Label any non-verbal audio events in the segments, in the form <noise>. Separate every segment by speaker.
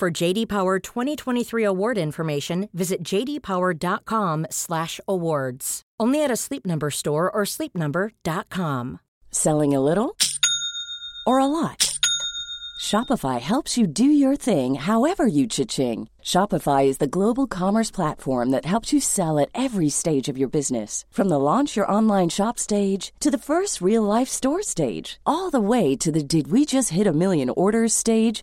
Speaker 1: For JD Power 2023 award information, visit jdpower.com/awards. Only at a Sleep Number store or sleepnumber.com.
Speaker 2: Selling a little or a lot? Shopify helps you do your thing however you cha-ching. Shopify is the global commerce platform that helps you sell at every stage of your business. From the launch your online shop stage to the first real life store stage, all the way to the did we just hit a million orders stage.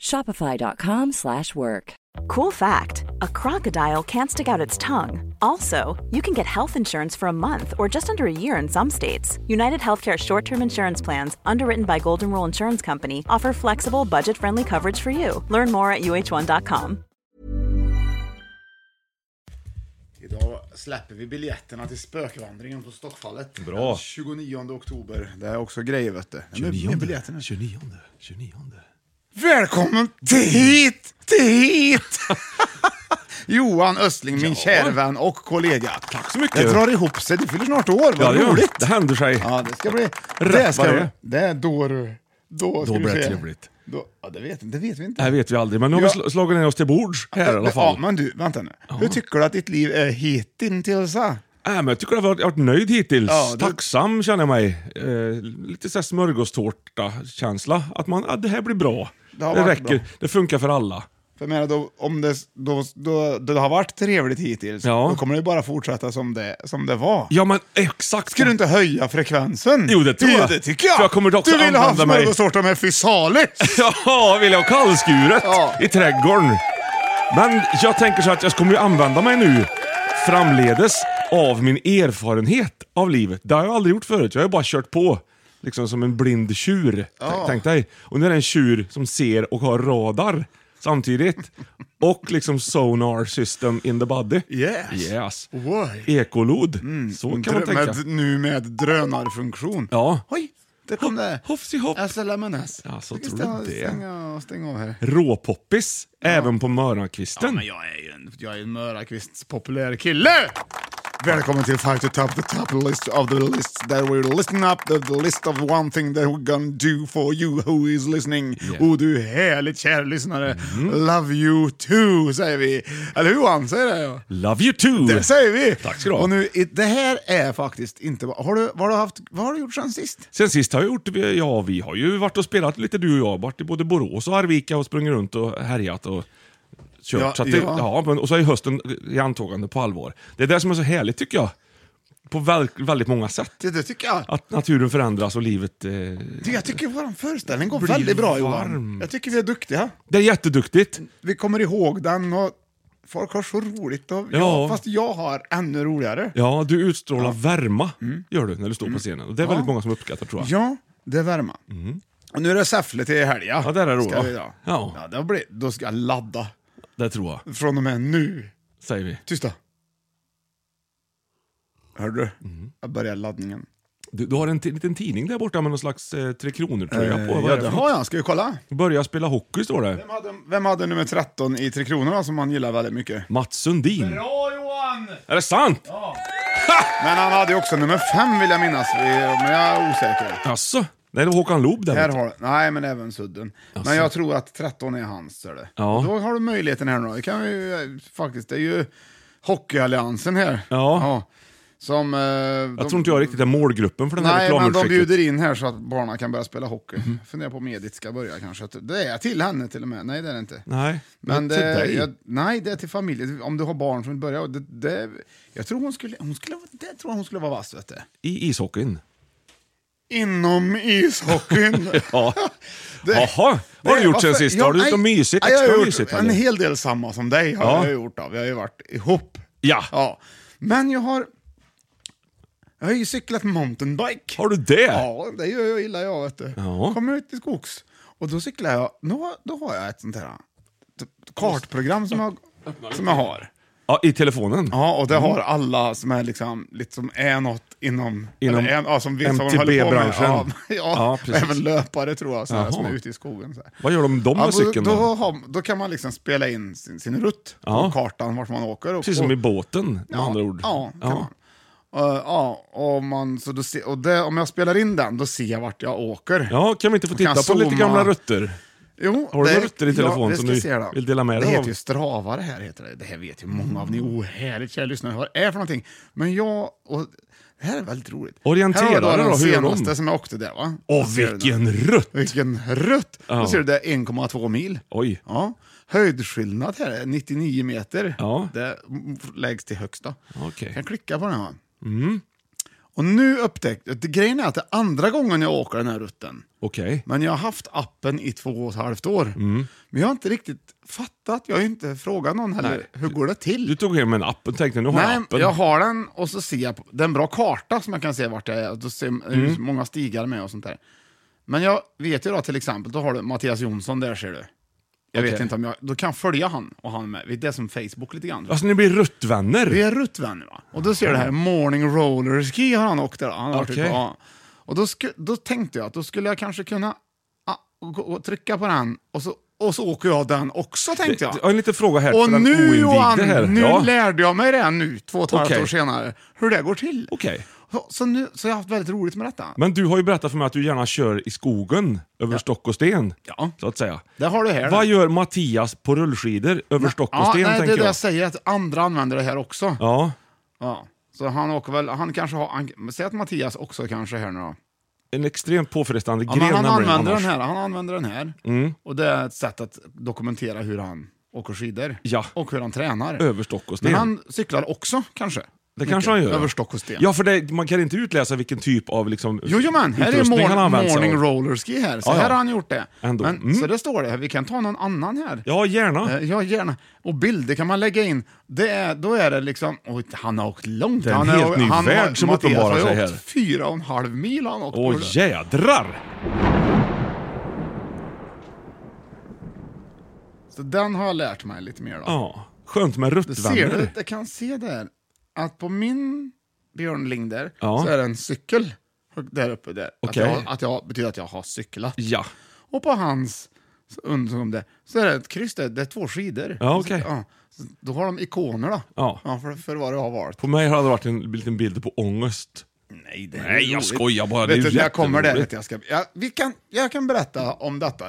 Speaker 2: shopify.com/work.
Speaker 3: Cool fact a crocodile can't stick out its tongue. Also, you can get health insurance for a month or just under a year in some states. United Healthcare short term insurance plans, underwritten by Golden Rule Insurance Company, offer flexible, budget friendly coverage for you. Learn more at uh1.com.
Speaker 4: Idag släpper vi biljetterna till spökvandringen på Stockfallet.
Speaker 5: Bra.
Speaker 4: Den 29 oktober. Det är också grejer vet du. Men- men
Speaker 5: 29.
Speaker 4: biljetterna.
Speaker 5: 29. 29.
Speaker 4: Välkommen till hit! Till hit! <laughs> Johan Östling, min kära vän och kollega. Tack
Speaker 5: så mycket.
Speaker 4: Det drar ihop sig, du fyller snart år, vad
Speaker 5: det gör-
Speaker 4: roligt!
Speaker 5: Det händer sig.
Speaker 4: Ja, det ska bli...
Speaker 5: Rätt
Speaker 4: Det, ska,
Speaker 5: vad det är.
Speaker 4: det är då du... Då, ska
Speaker 5: Då
Speaker 4: du
Speaker 5: blir det
Speaker 4: se.
Speaker 5: trevligt.
Speaker 4: Då, ja, det vet, det vet vi inte.
Speaker 5: Det här vet vi aldrig, men nu har vi
Speaker 4: Ja.
Speaker 5: sl- slagit ner oss till bords här i alla fall.
Speaker 4: Ja, men du, vänta nu. Hur tycker du att ditt liv är hittills? ah?
Speaker 5: Äh, men jag tycker att jag har varit- jag har varit nöjd hittills.
Speaker 4: Ja, det-
Speaker 5: Tacksam känner jag mig. Eh, lite såhär smörgåstårta-känsla. Att man, ah, det här blir bra.
Speaker 4: Det
Speaker 5: Det,
Speaker 4: har varit
Speaker 5: räcker.
Speaker 4: bra.
Speaker 5: Det funkar för alla.
Speaker 4: För jag menar, då, om det, då, då, då det har varit trevligt hittills,
Speaker 5: Ja.
Speaker 4: då kommer det ju bara fortsätta som det, som det var.
Speaker 5: Ja, men exakt.
Speaker 4: Ska du inte höja frekvensen?
Speaker 5: Jo, det tror
Speaker 4: Jo,
Speaker 5: jag.
Speaker 4: det tycker jag.
Speaker 5: För jag kommer också
Speaker 4: du vill ha
Speaker 5: använda mig-
Speaker 4: smörgåstårta med fysalis!
Speaker 5: <laughs> Ja, vill jag ha kallskuret
Speaker 4: Ja.
Speaker 5: i trädgården. Men jag tänker så att jag kommer ju använda mig nu framledes av min erfarenhet av livet. Det har jag aldrig gjort förut. Jag har ju bara kört på. Liksom som en blind tjur. Tänk, tänk dig. Och nu är det en tjur som ser och har radar samtidigt. Och liksom sonar system in the body.
Speaker 4: Yes.
Speaker 5: Yes.
Speaker 4: Why?
Speaker 5: Ekolod. Så kan man
Speaker 4: Drö-
Speaker 5: tänka.
Speaker 4: med, nu med drönarfunktion.
Speaker 5: Ja.
Speaker 4: Oj, där kom det.
Speaker 5: Hoppsi hopp.
Speaker 4: SLMNS.
Speaker 5: Ja, så
Speaker 4: Vi
Speaker 5: tror
Speaker 4: ska
Speaker 5: du det?
Speaker 4: Stänga, stänga av här.
Speaker 5: Råpoppis. Även på
Speaker 4: Ja,
Speaker 5: Mörakvisten.
Speaker 4: men jag är ju en, jag är en Mörakvists populär kille! Välkommen till Five to Top, the top list of the list that we're listening up, the, the list of one thing that we're gonna do for you who is listening. Och du härligt kära lyssnare, love you too säger vi. Eller hur Johan, säger det? Ja.
Speaker 5: Love you too!
Speaker 4: Det säger vi!
Speaker 5: Tack ska du ha.
Speaker 4: Och nu, i- det här är faktiskt inte... vad- Har du, vad, har du haft, vad har du gjort sen sist?
Speaker 5: Sen sist har jag gjort, ja vi har ju varit och spelat lite du och jag, varit i både Borås och Arvika och sprungit runt och härjat och kört.
Speaker 4: Ja,
Speaker 5: så att det,
Speaker 4: ja.
Speaker 5: ja. men, och så är hösten i antagande på allvar. Det är det som är så härligt tycker jag. På väl, väldigt många sätt.
Speaker 4: Det, det tycker jag.
Speaker 5: Att naturen förändras och livet... Eh,
Speaker 4: Du, Jag tycker vår föreställning går
Speaker 5: Blir
Speaker 4: väldigt bra Johan.
Speaker 5: varm.
Speaker 4: Jag tycker vi är duktiga.
Speaker 5: det är jätteduktigt.
Speaker 4: vi kommer ihåg den och folk har så roligt. Och ja.
Speaker 5: Ja.
Speaker 4: fast jag har ännu roligare. Ja, Mm.
Speaker 5: Ja, du utstrålar värma, gör du, när du står på scenen. Och det är väldigt många som uppskattar tror jag.
Speaker 4: det är värma. Och nu är det Säffle till i helgen.
Speaker 5: Mm. Ja, där är det
Speaker 4: Ska
Speaker 5: då.
Speaker 4: vi då. Ja.
Speaker 5: Ja.
Speaker 4: då, blir, då ska jag ladda
Speaker 5: Det tror jag,
Speaker 4: från och med nu.
Speaker 5: säger vi.
Speaker 4: Tysta. Hör du?
Speaker 5: Mm.
Speaker 4: Jag börjar laddningen.
Speaker 5: Du, du har en t- liten tidning där borta med någon slags eh, Tre Kronor-tröja på.
Speaker 4: Eh,
Speaker 5: Vad
Speaker 4: ja,
Speaker 5: är
Speaker 4: det
Speaker 5: det för
Speaker 4: har
Speaker 5: något?
Speaker 4: jag. Ska vi kolla?
Speaker 5: Börja spela hockey står det.
Speaker 4: Vem hade, vem hade nummer 13 i Tre Kronorna som man gillar väldigt mycket?
Speaker 5: Mats Sundin.
Speaker 4: Bra Johan!
Speaker 5: Är det sant?
Speaker 4: Men han hade ju också nummer 5 vill jag minnas, men jag är osäker.
Speaker 5: Jaså? Nej, det var Håkan Loob där.
Speaker 4: Här
Speaker 5: vet du.
Speaker 4: har, nej, men även sudden. Men jag tror att 13 är hans. Är det.
Speaker 5: Ja.
Speaker 4: Och Då har du möjligheten här nu. Det, kan vi, ju- eh, faktiskt, det är ju Hockeyalliansen här.
Speaker 5: Ja.
Speaker 4: Som, eh, de,
Speaker 5: Jag tror inte jag riktigt är målgruppen för den här Mhm.
Speaker 4: Nej, men de
Speaker 5: reklamursäkten.
Speaker 4: bjuder in här så att barnen kan börja spela hockey. Funderar på om Edith ska börja kanske. Att- Det är till henne till och med. Nej, det är det inte.
Speaker 5: Nej,
Speaker 4: Men
Speaker 5: men till
Speaker 4: det,
Speaker 5: dig.
Speaker 4: jag, nej, det är till familjen. Om du har barn från början. Det, det, jag tror hon skulle, hon skulle, det tror jag hon skulle vara vass, vet du.
Speaker 5: I ishockeyn.
Speaker 4: inom ishockeyn.
Speaker 5: <laughs> Ja.
Speaker 4: <laughs> Det-
Speaker 5: Jaha, vad har du
Speaker 4: det-
Speaker 5: gjort sen
Speaker 4: varför-
Speaker 5: sist? Har du gjort
Speaker 4: nej,
Speaker 5: något mysigt?
Speaker 4: nej, jag har
Speaker 5: Extra
Speaker 4: gjort
Speaker 5: mysigt?
Speaker 4: En
Speaker 5: eller?
Speaker 4: hel del samma som dig har
Speaker 5: Ja.
Speaker 4: jag gjort. Av. Jag har ju varit ihop.
Speaker 5: Ja.
Speaker 4: Men jag har... Jag har ju cyklat mountainbike.
Speaker 5: Har du det?
Speaker 4: Ja, det gör jag illa jag vet du.
Speaker 5: Ja.
Speaker 4: Kom ut i skogs. Och då cyklar jag, då, då har jag ett sånt här typ, kartprogram som jag, som jag har.
Speaker 5: Ja, I telefonen?
Speaker 4: Ja, och det
Speaker 5: Mm.
Speaker 4: har alla som är liksom, liksom är något inom,
Speaker 5: Inom
Speaker 4: eller är, ja, som vet vad de håller på med.
Speaker 5: MTB-branschen.
Speaker 4: Ja,
Speaker 5: Ja,
Speaker 4: <laughs> ja,
Speaker 5: precis.
Speaker 4: även löpare tror jag, så här, som
Speaker 5: Jaha.
Speaker 4: är ute i skogen. Så här.
Speaker 5: Vad gör de, de med
Speaker 4: Ja, då-
Speaker 5: cykeln
Speaker 4: då,
Speaker 5: då?
Speaker 4: har, då kan man liksom spela in sin, sin rutt
Speaker 5: Ja.
Speaker 4: på kartan vart man åker. Och,
Speaker 5: Precis som
Speaker 4: och,
Speaker 5: i båten med andra ord.
Speaker 4: Ja, kan man. Eh, ja, och, man, så då se, och det, om jag spelar in den, då ser jag vart jag åker.
Speaker 5: Ja, kan vi inte få titta
Speaker 4: Kan jag
Speaker 5: på lite
Speaker 4: zooma?
Speaker 5: gamla rötter?
Speaker 4: Jo,
Speaker 5: Har du
Speaker 4: det-
Speaker 5: några rutter i telefon
Speaker 4: ja, det
Speaker 5: som
Speaker 4: ska
Speaker 5: du
Speaker 4: jag se då.
Speaker 5: vill dela med
Speaker 4: Det
Speaker 5: dig av? Mm.
Speaker 4: heter ju strava det här. Heter det. det här vet ju många av ni ohärligt kära lyssnare vad det är för någonting. Men jag... Och, det här är väldigt roligt.
Speaker 5: Orienterare
Speaker 4: Här har jag
Speaker 5: då,
Speaker 4: den
Speaker 5: hur gör de?
Speaker 4: senaste som jag åkte där va? Då
Speaker 5: Åh,
Speaker 4: ser du den.
Speaker 5: vilken rutt!
Speaker 4: Vilken rutt!
Speaker 5: Ja.
Speaker 4: Då ser du det är 1,2 mil.
Speaker 5: Oj.
Speaker 4: Ja. Höjdskillnad här är 99 meter.
Speaker 5: Ja.
Speaker 4: Det m- läggs till högsta.
Speaker 5: Okej. Mm.
Speaker 4: kan klicka på den här. va? Och nu upptäckte... det- Grejen är att det är andra gången jag åker den här rutten.
Speaker 5: Okej.
Speaker 4: Men jag har haft appen i två och ett halvt år.
Speaker 5: Mm.
Speaker 4: Men jag har inte riktigt fattat. Jag har ju inte frågat någon heller.
Speaker 5: Nej.
Speaker 4: Hur går det till?
Speaker 5: Du tog hem en app och tänkte nu har
Speaker 4: Nej,
Speaker 5: jag appen.
Speaker 4: jag har den och så ser jag på, det är en bra karta som jag kan se vart jag är. Och Då ser är
Speaker 5: Mm.
Speaker 4: ju många stigar med och sånt där. Men jag vet ju då till exempel, då har du Mattias Jonsson där ser du. Jag vet
Speaker 5: Okej.
Speaker 4: inte om jag, då kan jag följa han och han med. Det är som Facebook lite grann.
Speaker 5: Alltså ni blir ruttvänner?
Speaker 4: Vi är ruttvänner va? Och då ser du det här, morning roller ski har han åkt där. Han har varit
Speaker 5: Okej.
Speaker 4: ute på, ja. Och då, sku, då tänkte jag att då skulle jag kanske kunna ah, gå- och trycka på den och så, och så åker jag den också tänkte jag.
Speaker 5: Jag har en liten fråga här
Speaker 4: Och
Speaker 5: för den
Speaker 4: nu
Speaker 5: oinvigde
Speaker 4: Johan,
Speaker 5: här.
Speaker 4: nu
Speaker 5: ja.
Speaker 4: lärde jag mig det nu, två och ett halvt
Speaker 5: Okej.
Speaker 4: år senare, hur det går till.
Speaker 5: Okej.
Speaker 4: Så, så, nu, så jag har haft väldigt roligt med detta.
Speaker 5: Men du har ju berättat för mig att du gärna kör i skogen, över stock och sten.
Speaker 4: Ja.
Speaker 5: Så att säga.
Speaker 4: Det har du här.
Speaker 5: Vad gör Mattias på rullskidor över stock och
Speaker 4: ja,
Speaker 5: sten,
Speaker 4: nej, det är
Speaker 5: tänker
Speaker 4: det
Speaker 5: jag?
Speaker 4: jag säger, att andra använder det här också. Ja.
Speaker 5: Ja.
Speaker 4: Så han åker väl, han kanske har, han, säg att Mattias också kanske här nu då.
Speaker 5: En extremt påfrestande
Speaker 4: Ja,
Speaker 5: gren
Speaker 4: men han,
Speaker 5: nämligen
Speaker 4: använder
Speaker 5: annars.
Speaker 4: den här, han använder den här.
Speaker 5: Mm.
Speaker 4: Och det är ett sätt att dokumentera hur han åker skidor.
Speaker 5: Ja.
Speaker 4: Och hur han tränar.
Speaker 5: Över stock och sten.
Speaker 4: Men han cyklar också kanske.
Speaker 5: Det kanske han gör.
Speaker 4: Över stock och sten.
Speaker 5: Ja, för det, man kan inte utläsa vilken typ av liksom,
Speaker 4: Jo, jo men, här är
Speaker 5: utrustning han
Speaker 4: mor-
Speaker 5: använt sig
Speaker 4: morning
Speaker 5: av.
Speaker 4: roller ski här. Så
Speaker 5: Ja, ja.
Speaker 4: här har han gjort det.
Speaker 5: Ändå.
Speaker 4: Men,
Speaker 5: Mm.
Speaker 4: Så det står det här. Vi kan ta någon annan här.
Speaker 5: Ja, gärna.
Speaker 4: Eh, Ja, gärna. Och bilder kan man lägga in. Det är, då är det liksom... Oj, han har åkt långt.
Speaker 5: Det är en
Speaker 4: han
Speaker 5: helt ny
Speaker 4: han,
Speaker 5: värld som
Speaker 4: Mattias
Speaker 5: uppenbarar
Speaker 4: har ju
Speaker 5: sig
Speaker 4: åkt
Speaker 5: här.
Speaker 4: Fyra och en halv mil har han åkt.
Speaker 5: Åh
Speaker 4: på det.
Speaker 5: jädrar!
Speaker 4: Så den har jag lärt mig lite mer. Då.
Speaker 5: Ja, skönt med
Speaker 4: Du ser du,
Speaker 5: ruttvänner.
Speaker 4: jag kan se där att på min Björn Linder
Speaker 5: Ja.
Speaker 4: så är det en cykel högt där uppe. Där.
Speaker 5: Okej.
Speaker 4: Att, jag, att jag betyder att jag har cyklat.
Speaker 5: Ja.
Speaker 4: Och på hans, så undrar jag om det, så är det ett kryss där, det är två skidor.
Speaker 5: Ja,
Speaker 4: Och så-
Speaker 5: okej.
Speaker 4: ja. Så Då har de ikoner då,
Speaker 5: Ja.
Speaker 4: för, för vad det har varit.
Speaker 5: På mig hade det varit en liten bild på ångest.
Speaker 4: Nej, det
Speaker 5: Nej, jag skojar bara, det är
Speaker 4: Vet
Speaker 5: ju
Speaker 4: du, när jag kommer där,
Speaker 5: jätteroligt.
Speaker 4: vet jag, ska, jag, vi kan, jag kan berätta om detta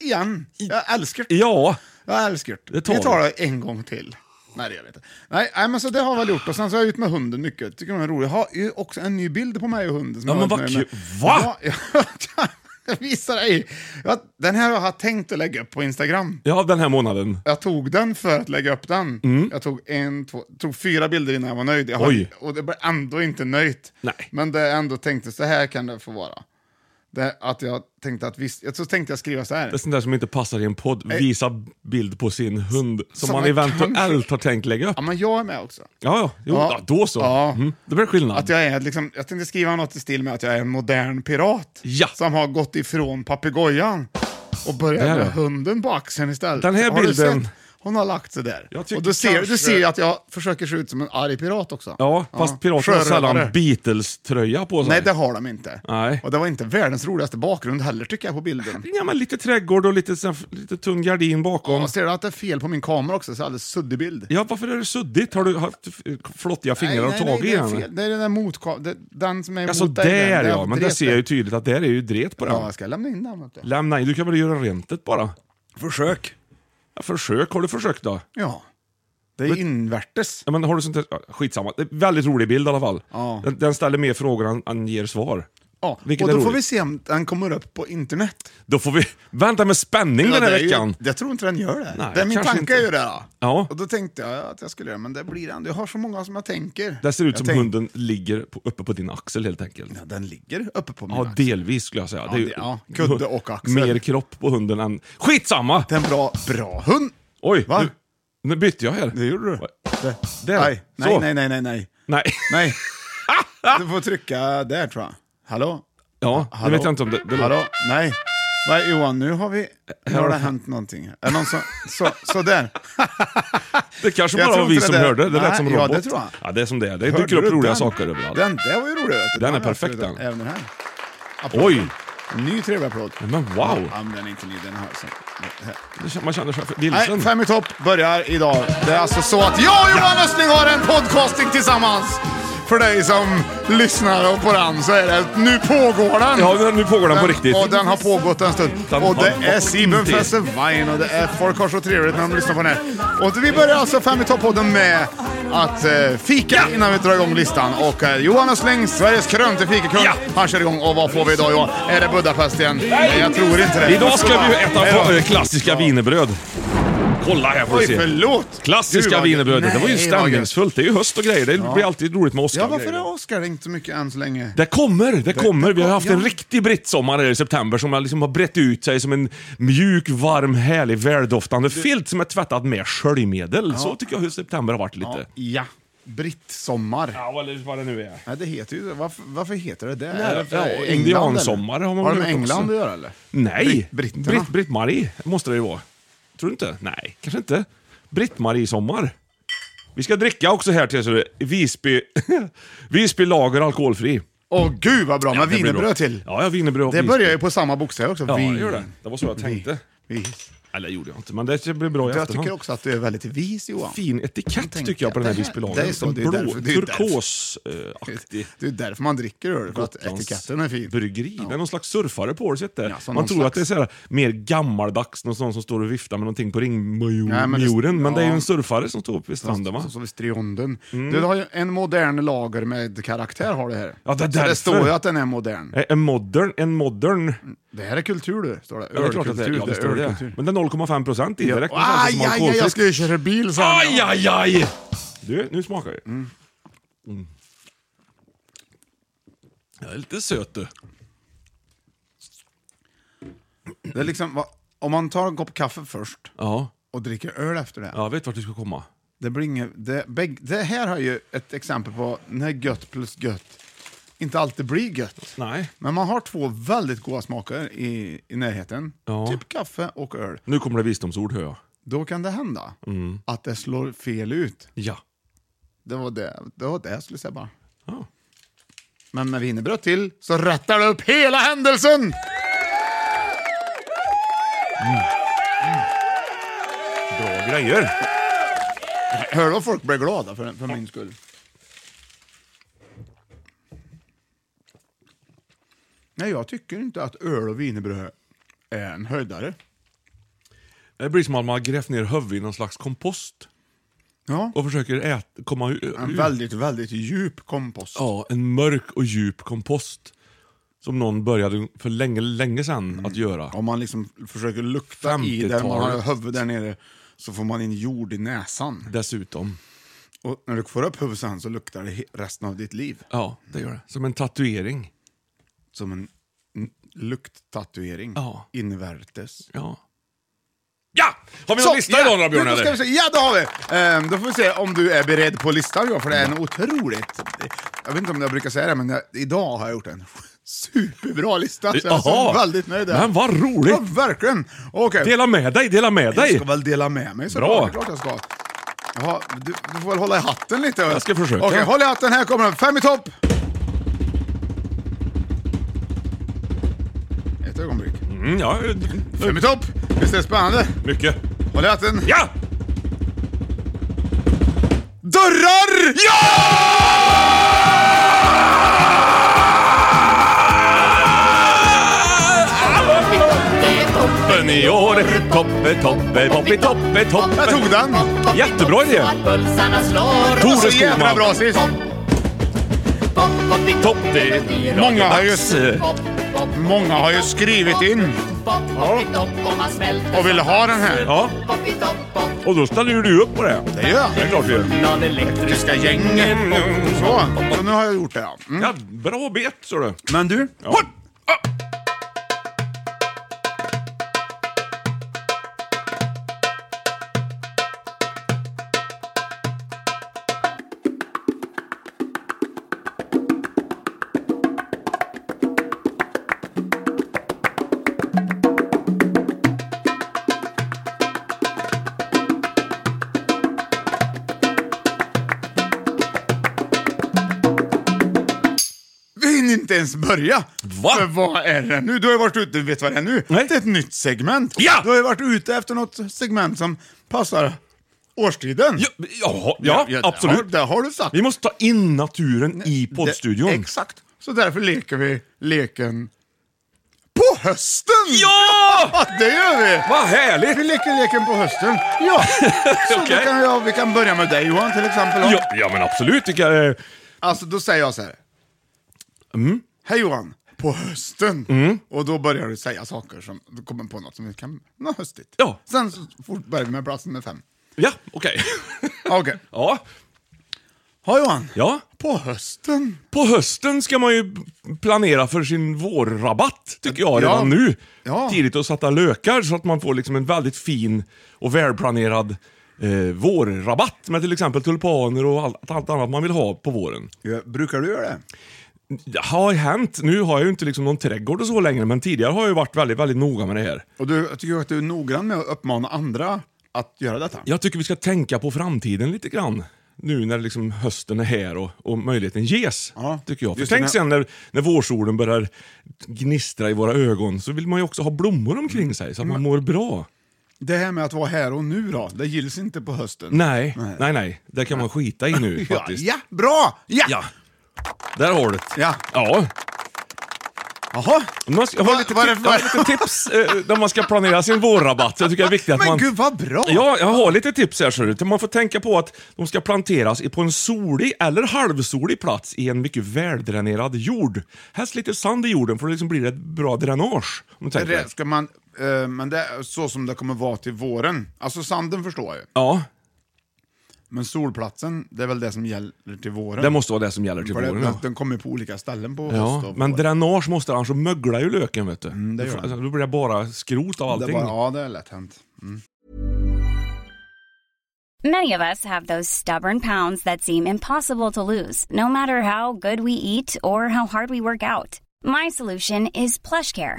Speaker 4: igen. Jag älskar det.
Speaker 5: Ja,
Speaker 4: Jag älskar det.
Speaker 5: Det tar
Speaker 4: vi tar det en gång till. Nej, det gör vi inte. Nej, nej, men så det har jag väl gjort. Och sen så har jag ut med hunden mycket. Tycker hon är rolig. Jag har ju också en ny bild på mig och hunden. Som
Speaker 5: Ja,
Speaker 4: jag
Speaker 5: men
Speaker 4: har
Speaker 5: vad
Speaker 4: varit med
Speaker 5: kul.
Speaker 4: med.
Speaker 5: Va?
Speaker 4: Ja, <laughs> jag, jag visar dig. Jag, den här har jag tänkt att lägga upp på Instagram.
Speaker 5: ja, den här månaden.
Speaker 4: Jag tog den för att lägga upp den. Jag tog en, två, tog fyra bilder innan jag var nöjd. Jag
Speaker 5: Mm. Oj.
Speaker 4: Har, och det blev ändå inte nöjt.
Speaker 5: Nej.
Speaker 4: Men det jag ändå tänkte, så här kan det få vara. Det, att jag tänkte att visst, så tänkte jag skriva så här.
Speaker 5: Det är sånt där som inte passar i en podd. Visa bild på sin hund som
Speaker 4: Som
Speaker 5: man
Speaker 4: man
Speaker 5: eventuellt
Speaker 4: kanske-
Speaker 5: har tänkt lägga upp. Ja,
Speaker 4: Ja, men jag är med också.
Speaker 5: ja, jo,
Speaker 4: Ja.
Speaker 5: ja. då så.
Speaker 4: Ja.
Speaker 5: Mm, det blir skillnad.
Speaker 4: Att jag, är liksom, jag tänkte skriva något i stil med att jag är en modern pirat.
Speaker 5: Ja.
Speaker 4: Som har gått ifrån papegojan och börjat
Speaker 5: Där är
Speaker 4: med
Speaker 5: det.
Speaker 4: hunden på axeln istället.
Speaker 5: Den här
Speaker 4: Har du
Speaker 5: bilden-
Speaker 4: sett? Hon har lagt sig där.
Speaker 5: Jag tycker
Speaker 4: och du ser,
Speaker 5: kanske-
Speaker 4: du ser ju att jag försöker se ut som en arg pirat också.
Speaker 5: Ja, fast piraterna har sällan
Speaker 4: Sjörövare.
Speaker 5: Beatles-tröja på sig.
Speaker 4: Nej, det har de inte.
Speaker 5: Nej.
Speaker 4: Och det var inte världens roligaste bakgrund heller tycker jag på bilden.
Speaker 5: <laughs> Ja, men lite trädgård och lite, sån här- lite tunn gardin bakom.
Speaker 4: Och ser du att det är fel på min kamera också, så är det alldeles suddig bild.
Speaker 5: Ja, varför är det suddigt? Har du haft f- flottiga fingrar och tagit
Speaker 4: nej,
Speaker 5: i
Speaker 4: det är
Speaker 5: den?
Speaker 4: fel. Det är den där motka- det- den som är
Speaker 5: Alltså
Speaker 4: mot dig. den-
Speaker 5: där
Speaker 4: den
Speaker 5: ja, men där
Speaker 4: drepte.
Speaker 5: ser jag ju tydligt att där är ju dret på den.
Speaker 4: Ja, jag ska lämna in den. vet du.
Speaker 5: Lämna in, du kan väl göra rent det bara? Försök. Ja, försök, har du försökt då?
Speaker 4: Ja. Det är invärtes.
Speaker 5: Ja, men har du sånt där? ja, Skitsamma, det är en väldigt rolig bild i alla fall.
Speaker 4: Ja.
Speaker 5: Den, den ställer mer frågor än, än ger svar.
Speaker 4: Ja,
Speaker 5: Vilket
Speaker 4: och
Speaker 5: är
Speaker 4: då får
Speaker 5: roligt.
Speaker 4: vi se om den kommer upp på internet.
Speaker 5: Då får vi <laughs> vänta med spänning den här
Speaker 4: det är ju-
Speaker 5: veckan.
Speaker 4: Jag tror inte den gör det.
Speaker 5: Nej,
Speaker 4: det är min
Speaker 5: kanske
Speaker 4: tanke
Speaker 5: inte.
Speaker 4: är ju det. Då.
Speaker 5: Ja.
Speaker 4: Och då tänkte jag att jag skulle göra men det blir ändå. Jag har så många som jag tänker.
Speaker 5: Det ser ut
Speaker 4: jag
Speaker 5: som
Speaker 4: tänk-
Speaker 5: hunden ligger på, uppe på din axel helt enkelt.
Speaker 4: Ja, den ligger uppe på min
Speaker 5: Ja,
Speaker 4: axel.
Speaker 5: delvis skulle jag säga.
Speaker 4: Ja, det- ja, kudde och axel.
Speaker 5: Mer kropp på hunden än... Skitsamma!
Speaker 4: Det är en bra, bra hund.
Speaker 5: Oj,
Speaker 4: Va?
Speaker 5: nu, nu bytte jag här.
Speaker 4: Det gjorde du.
Speaker 5: Oj.
Speaker 4: Det.
Speaker 5: Där.
Speaker 4: Nej, nej,
Speaker 5: Så.
Speaker 4: nej, nej, nej, nej.
Speaker 5: Nej. <laughs>
Speaker 4: Nej. Du får trycka där tror jag. Hallå?
Speaker 5: Ja, nu
Speaker 4: Hallå?
Speaker 5: vet jag inte om det... det
Speaker 4: Hallå? Nej. Vad Johan, nu har vi... Nu har det hänt någonting. Är det någon som... Så, så där.
Speaker 5: Det kanske
Speaker 4: Jag
Speaker 5: bara
Speaker 4: tror
Speaker 5: var vi
Speaker 4: inte
Speaker 5: som
Speaker 4: det där-
Speaker 5: hörde. Det
Speaker 4: Nej,
Speaker 5: lät som
Speaker 4: ja,
Speaker 5: robot.
Speaker 4: det tror jag.
Speaker 5: Ja, det är som det är. Det
Speaker 4: Hörde
Speaker 5: dyker upp
Speaker 4: du
Speaker 5: roliga
Speaker 4: den?
Speaker 5: saker överallt.
Speaker 4: Den, det var ju rolig. vet du.
Speaker 5: Den är
Speaker 4: var
Speaker 5: perfekt,
Speaker 4: absolut-
Speaker 5: den.
Speaker 4: Även den här. Applåd.
Speaker 5: Oj!
Speaker 4: En ny trevlig applåd.
Speaker 5: Men wow!
Speaker 4: Ja, men den är inte ny, den här. Så. här.
Speaker 5: Det kän- Man känner sig för-
Speaker 4: Nej,
Speaker 5: vilsen.
Speaker 4: Fem i topp börjar idag. Det är alltså så att jag och Johan Östling har en podcasting tillsammans. För dig som lyssnar och på den så är det, nu pågår den!
Speaker 5: Ja, men nu pågår den på riktigt.
Speaker 4: Och den har pågått en stund.
Speaker 5: Den
Speaker 4: och det
Speaker 5: har
Speaker 4: är
Speaker 5: gått
Speaker 4: Sieben
Speaker 5: inte.
Speaker 4: Fesselwein och det är folk har så trevligt när de lyssnar på den här. Och vi börjar alltså Fem i topp-podden med att eh, fika innan vi drar igång listan. Och eh, Johan Östling, Sveriges krönte fikakung,
Speaker 5: Ja.
Speaker 4: han kör igång. Och vad får vi idag Johan? Är det Budapest igen? Nej, jag tror inte det.
Speaker 5: Idag ska vi ju äta
Speaker 4: Hej då.
Speaker 5: på- eh, klassiska wienerbröd. Kolla här får du
Speaker 4: Oj,
Speaker 5: se.
Speaker 4: förlåt! Gud,
Speaker 5: Klassiska
Speaker 4: vad-
Speaker 5: wienerbrödet. Det var ju
Speaker 4: Nej, vad gött.
Speaker 5: stämningsfullt. Det är ju höst och grejer. Det blir alltid roligt med Oscar.
Speaker 4: Ja, varför är Oscar inte mycket än så länge?
Speaker 5: Det kommer, det kommer. Vi har haft en
Speaker 4: ja.
Speaker 5: riktig brittsommar här i september som har liksom har brett ut sig som en mjuk, varm, härlig, väldoftande filt som är tvättad med sköljmedel. Så tycker jag hur september har varit lite.
Speaker 4: Ja, brittsommar. Ja.
Speaker 5: Ja, eller vad det nu är.
Speaker 4: Nej, det heter ju varför, varför heter det det?
Speaker 5: Nej,
Speaker 4: Är det för
Speaker 5: ja,
Speaker 4: England,
Speaker 5: indiansommar
Speaker 4: eller?
Speaker 5: har man
Speaker 4: Har det
Speaker 5: väl
Speaker 4: med
Speaker 5: gjort
Speaker 4: England
Speaker 5: också.
Speaker 4: att göra eller?
Speaker 5: Nej,
Speaker 4: Britt- britterna.
Speaker 5: Britt- Britt-Marie måste det ju vara. Tror du inte? Nej, kanske inte. Britt-Marie-sommar. Vi ska dricka också här till så det är Visby, <laughs> Visby lager alkoholfri.
Speaker 4: Åh gud vad bra, med
Speaker 5: det blir bra.
Speaker 4: wienerbröd till.
Speaker 5: Ja, ja, wienerbröd och
Speaker 4: Det
Speaker 5: Visby.
Speaker 4: börjar ju på samma bokstäver också.
Speaker 5: Ja,
Speaker 4: Vin.
Speaker 5: det gör det. Det var så jag tänkte.
Speaker 4: Vis.
Speaker 5: Eller gjorde jag inte, men det blir bra i
Speaker 4: Jag
Speaker 5: efterhand.
Speaker 4: tycker också att du är väldigt vis Johan.
Speaker 5: fin etikett
Speaker 4: tänkte
Speaker 5: tycker jag på
Speaker 4: jag.
Speaker 5: den här
Speaker 4: Det här-
Speaker 5: Visbylagen.
Speaker 4: det är så,
Speaker 5: En
Speaker 4: det är
Speaker 5: blå,
Speaker 4: därför- det är därför.
Speaker 5: turkosaktig.
Speaker 4: Det är därför man dricker öl, för att
Speaker 5: Gotlands
Speaker 4: etiketten är fin.
Speaker 5: Bryggeri. Det är någon slags surfare på det sättet.
Speaker 4: Ja, så någon
Speaker 5: Man tror att det är
Speaker 4: slags-
Speaker 5: så här, mer gammaldags, någon sån som står och viftar med någonting på ringmuren.
Speaker 4: Nej, men
Speaker 5: men,
Speaker 4: det-
Speaker 5: det är ju
Speaker 4: ja.
Speaker 5: en surfare som står uppe vid stranden va? Mm.
Speaker 4: Så, så vid Strionden. Du har ju en modern lager med karaktär har du här.
Speaker 5: Ja, det är
Speaker 4: så
Speaker 5: därför.
Speaker 4: det står ju att den är modern.
Speaker 5: Eh, En modern, en modern...
Speaker 4: Det här är kultur du, står det.
Speaker 5: Ja, det är klart att det är, ja, det står det. Men det är 0,5 procent i direkt.
Speaker 4: Ja. Aj, aj, aj, jag
Speaker 5: alkoholfritt.
Speaker 4: skulle ju köra bil sen.
Speaker 5: Aj, aj, aj! Du, nu smakar jag. Mm. Jag är lite söt du.
Speaker 4: Det är liksom, va- om man tar en kopp kaffe först
Speaker 5: Ja,
Speaker 4: och dricker öl efter det.
Speaker 5: jag vet vart du ska komma.
Speaker 4: Det, blir inget, det, bägge- det här har ju ett exempel på när gött plus gött inte alltid blir gött.
Speaker 5: Nej.
Speaker 4: Men man har två väldigt goda smaker i, i närheten.
Speaker 5: Ja.
Speaker 4: Typ kaffe och öl.
Speaker 5: Nu kommer det visdomsord hör jag.
Speaker 4: Då kan det hända
Speaker 5: Mm.
Speaker 4: att det slår fel ut.
Speaker 5: Ja.
Speaker 4: Det var det, det, var det jag skulle säga bara.
Speaker 5: Ja.
Speaker 4: Men med wienerbröd till så rättar det upp hela händelsen!
Speaker 5: Bra grejer.
Speaker 4: Hör du vad folk blir glada för, för min skull? Nej, jag tycker inte att öl och wienerbröd är en höjdare.
Speaker 5: Det blir som att man har grävt ner huvudet i någon slags kompost
Speaker 4: Ja, Mm.
Speaker 5: och försöker äta, komma ur.
Speaker 4: en väldigt, väldigt djup kompost.
Speaker 5: Ja, en mörk och djup kompost. Som någon började för länge, länge sedan
Speaker 4: Mm.
Speaker 5: att göra.
Speaker 4: Om man liksom försöker lukta i där man har
Speaker 5: 50-talet.
Speaker 4: huvudet där nere så får man in jord i näsan.
Speaker 5: Dessutom.
Speaker 4: Och när du får upp huvudet sen så luktar det he- resten av ditt liv.
Speaker 5: Ja, det gör det. Som en tatuering.
Speaker 4: Som en n- lukttatuering.
Speaker 5: Ja.
Speaker 4: Invärtes.
Speaker 5: Ja. Ja! Har vi någon lista idag då Björn
Speaker 4: nu ska
Speaker 5: eller?
Speaker 4: vi se. Ja, det har vi! Ehm, då får vi se om du är beredd på listan, ja, för det är en otroligt... Jag vet inte om jag brukar säga det, men jag, idag har jag gjort en superbra lista. Så jag är så
Speaker 5: Jaha.
Speaker 4: väldigt nöjd. där.
Speaker 5: Men vad roligt.
Speaker 4: Ja, verkligen! Okej,
Speaker 5: Dela med dig, dela med
Speaker 4: jag
Speaker 5: dig!
Speaker 4: ska väl dela med mig så
Speaker 5: Bra.
Speaker 4: bra. klart jag ska. Jaha, du, du får väl hålla i hatten lite. Jag
Speaker 5: ska försöka.
Speaker 4: Okej, håll i hatten. Här kommer den. Fem i topp! Ett ögonblick.
Speaker 5: Mm, ja,
Speaker 4: Fem i topp! Visst är det spännande?
Speaker 5: mycket.
Speaker 4: Håll i hatten.
Speaker 5: Ja!
Speaker 4: Dörrar!
Speaker 5: Toppen i år! Toppe, toppe, poppe, toppe, toppe!
Speaker 4: Jag tog den!
Speaker 5: Jättebra idé!
Speaker 6: Pulsarna slår
Speaker 5: Tore
Speaker 4: Så Alltså, jävla
Speaker 5: Skogman.
Speaker 4: bra sist!
Speaker 5: Topp det.
Speaker 4: Många har ju, många har ju skrivit in och vill ha den här.
Speaker 5: Ja. Och då ställer ju du upp på det.
Speaker 4: Det gör
Speaker 5: Det är
Speaker 4: jag.
Speaker 5: klart du gör. Mm.
Speaker 4: Elektriska gänget. Så, så nu har jag gjort det. ja. Mm.
Speaker 5: Ja, bra bet, så du.
Speaker 4: Men du,
Speaker 5: Ja.
Speaker 4: vi hinner inte ens börja.
Speaker 5: Va?
Speaker 4: För vad är det nu? Du har ju varit ute, vet du vad det är nu?
Speaker 5: Nej.
Speaker 4: Det är ett nytt segment.
Speaker 5: Ja!
Speaker 4: Du har ju varit ute efter något segment som passar årstiden.
Speaker 5: Ja, ja, ja, absolut.
Speaker 4: Det har, det har du sagt.
Speaker 5: Vi måste ta in naturen i poddstudion.
Speaker 4: Det- Exakt. Så därför leker vi leken på hösten!
Speaker 5: Ja!
Speaker 4: Ja, det gör vi!
Speaker 5: Vad
Speaker 4: Vi
Speaker 5: härligt!
Speaker 4: leker leken på hösten.
Speaker 5: <laughs>
Speaker 4: Ja, så då
Speaker 5: Okej.
Speaker 4: kan jag, vi kan börja med dig Johan till exempel. då.
Speaker 5: Ja, ja men absolut. Vilka, eh,
Speaker 4: Alltså då säger jag så här. Mm. Hej Johan, på hösten.
Speaker 5: Mm.
Speaker 4: Och då börjar du säga saker som, du kommer på något som vi kan, något höstigt.
Speaker 5: Ja.
Speaker 4: Sen så fort börjar vi med plats nummer fem.
Speaker 5: ja, okej. <laughs>
Speaker 4: Okej.
Speaker 5: Ja,
Speaker 4: Ja Johan,
Speaker 5: ja.
Speaker 4: på hösten.
Speaker 5: På hösten ska man ju planera för sin vårrabatt, tycker jag, redan
Speaker 4: Ja.
Speaker 5: nu.
Speaker 4: Ja.
Speaker 5: Tidigt att sätta lökar så att man får liksom en väldigt fin och välplanerad eh, vårrabatt med till exempel tulpaner och allt, allt annat man vill ha på våren.
Speaker 4: Ja, brukar du göra det?
Speaker 5: Det har ju hänt. Nu har jag ju inte liksom någon trädgård och så längre, men tidigare har jag ju varit väldigt, väldigt noga med det här.
Speaker 4: Och du, jag tycker att du är noggrann med att uppmana andra att göra detta.
Speaker 5: Jag tycker vi ska tänka på framtiden lite grann. Nu när liksom hösten är här och, och möjligheten ges.
Speaker 4: Ja,
Speaker 5: tycker jag. För
Speaker 4: just det,
Speaker 5: tänk
Speaker 4: men-
Speaker 5: sen när, när vårsolen börjar gnistra i våra ögon så vill man ju också ha blommor omkring sig så att man
Speaker 4: Mm.
Speaker 5: mår bra.
Speaker 4: Det här med att vara här och nu då, det gills inte på hösten.
Speaker 5: Nej, nej, nej. Det kan man skita i nu
Speaker 4: <laughs> Ja,
Speaker 5: faktiskt.
Speaker 4: ja, bra! Ja!
Speaker 5: ja. Där har du det.
Speaker 4: Ja.
Speaker 5: Ja.
Speaker 4: Jaha.
Speaker 5: Man ska, jag har
Speaker 4: Va-
Speaker 5: lite,
Speaker 4: vad är det
Speaker 5: tips- jag har
Speaker 4: för-
Speaker 5: lite tips eh, när man ska planera sin vårrabatt. Jag tycker det är viktigt att
Speaker 4: Men
Speaker 5: man...
Speaker 4: gud vad bra!
Speaker 5: Ja, jag har lite tips här. ser du. Man får tänka på att de ska planteras i- på en solig eller halvsolig plats i en mycket väldränerad jord. Helst lite sand i jorden för då liksom blir det ett bra dränage. Om du tänker
Speaker 4: Det
Speaker 5: det.
Speaker 4: ska man, eh, men det är så som det kommer vara till våren. Alltså sanden förstår jag ju,
Speaker 5: Ja,
Speaker 4: men solplatsen, det är väl det som gäller till våren.
Speaker 5: det måste vara det som gäller till
Speaker 4: För det,
Speaker 5: våren.
Speaker 4: den,
Speaker 5: Ja.
Speaker 4: den kommer på olika ställen på höst
Speaker 5: Ja,
Speaker 4: och
Speaker 5: men
Speaker 4: vår.
Speaker 5: dränage måste annars så möglar ju löken vet du.
Speaker 4: Mm,
Speaker 5: alltså,
Speaker 4: det gör den.
Speaker 5: då blir det bara skrot av
Speaker 4: det är
Speaker 5: allting.
Speaker 4: bara, Ja, det är lätt hänt. Mm.
Speaker 6: Many of us have those stubborn pounds that seem impossible to lose, no matter how good we eat or how hard we work out. My solution is PlushCare.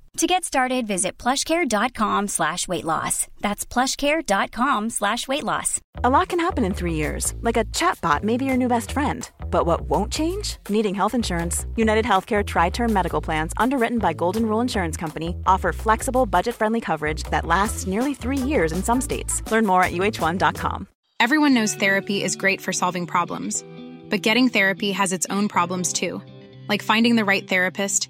Speaker 6: To get started, visit plushcare.com slash weight loss. That's plushcare.com slash weight loss.
Speaker 3: A lot can happen in three years, like a chatbot may be your new best friend. But what won't change? Needing health insurance. United Healthcare Tri Term Medical Plans, underwritten by Golden Rule Insurance Company, offer flexible, budget friendly coverage that lasts nearly three years in some states. Learn more at uh1.com.
Speaker 7: Everyone knows therapy is great for solving problems, but getting therapy has its own problems too, like finding the right therapist,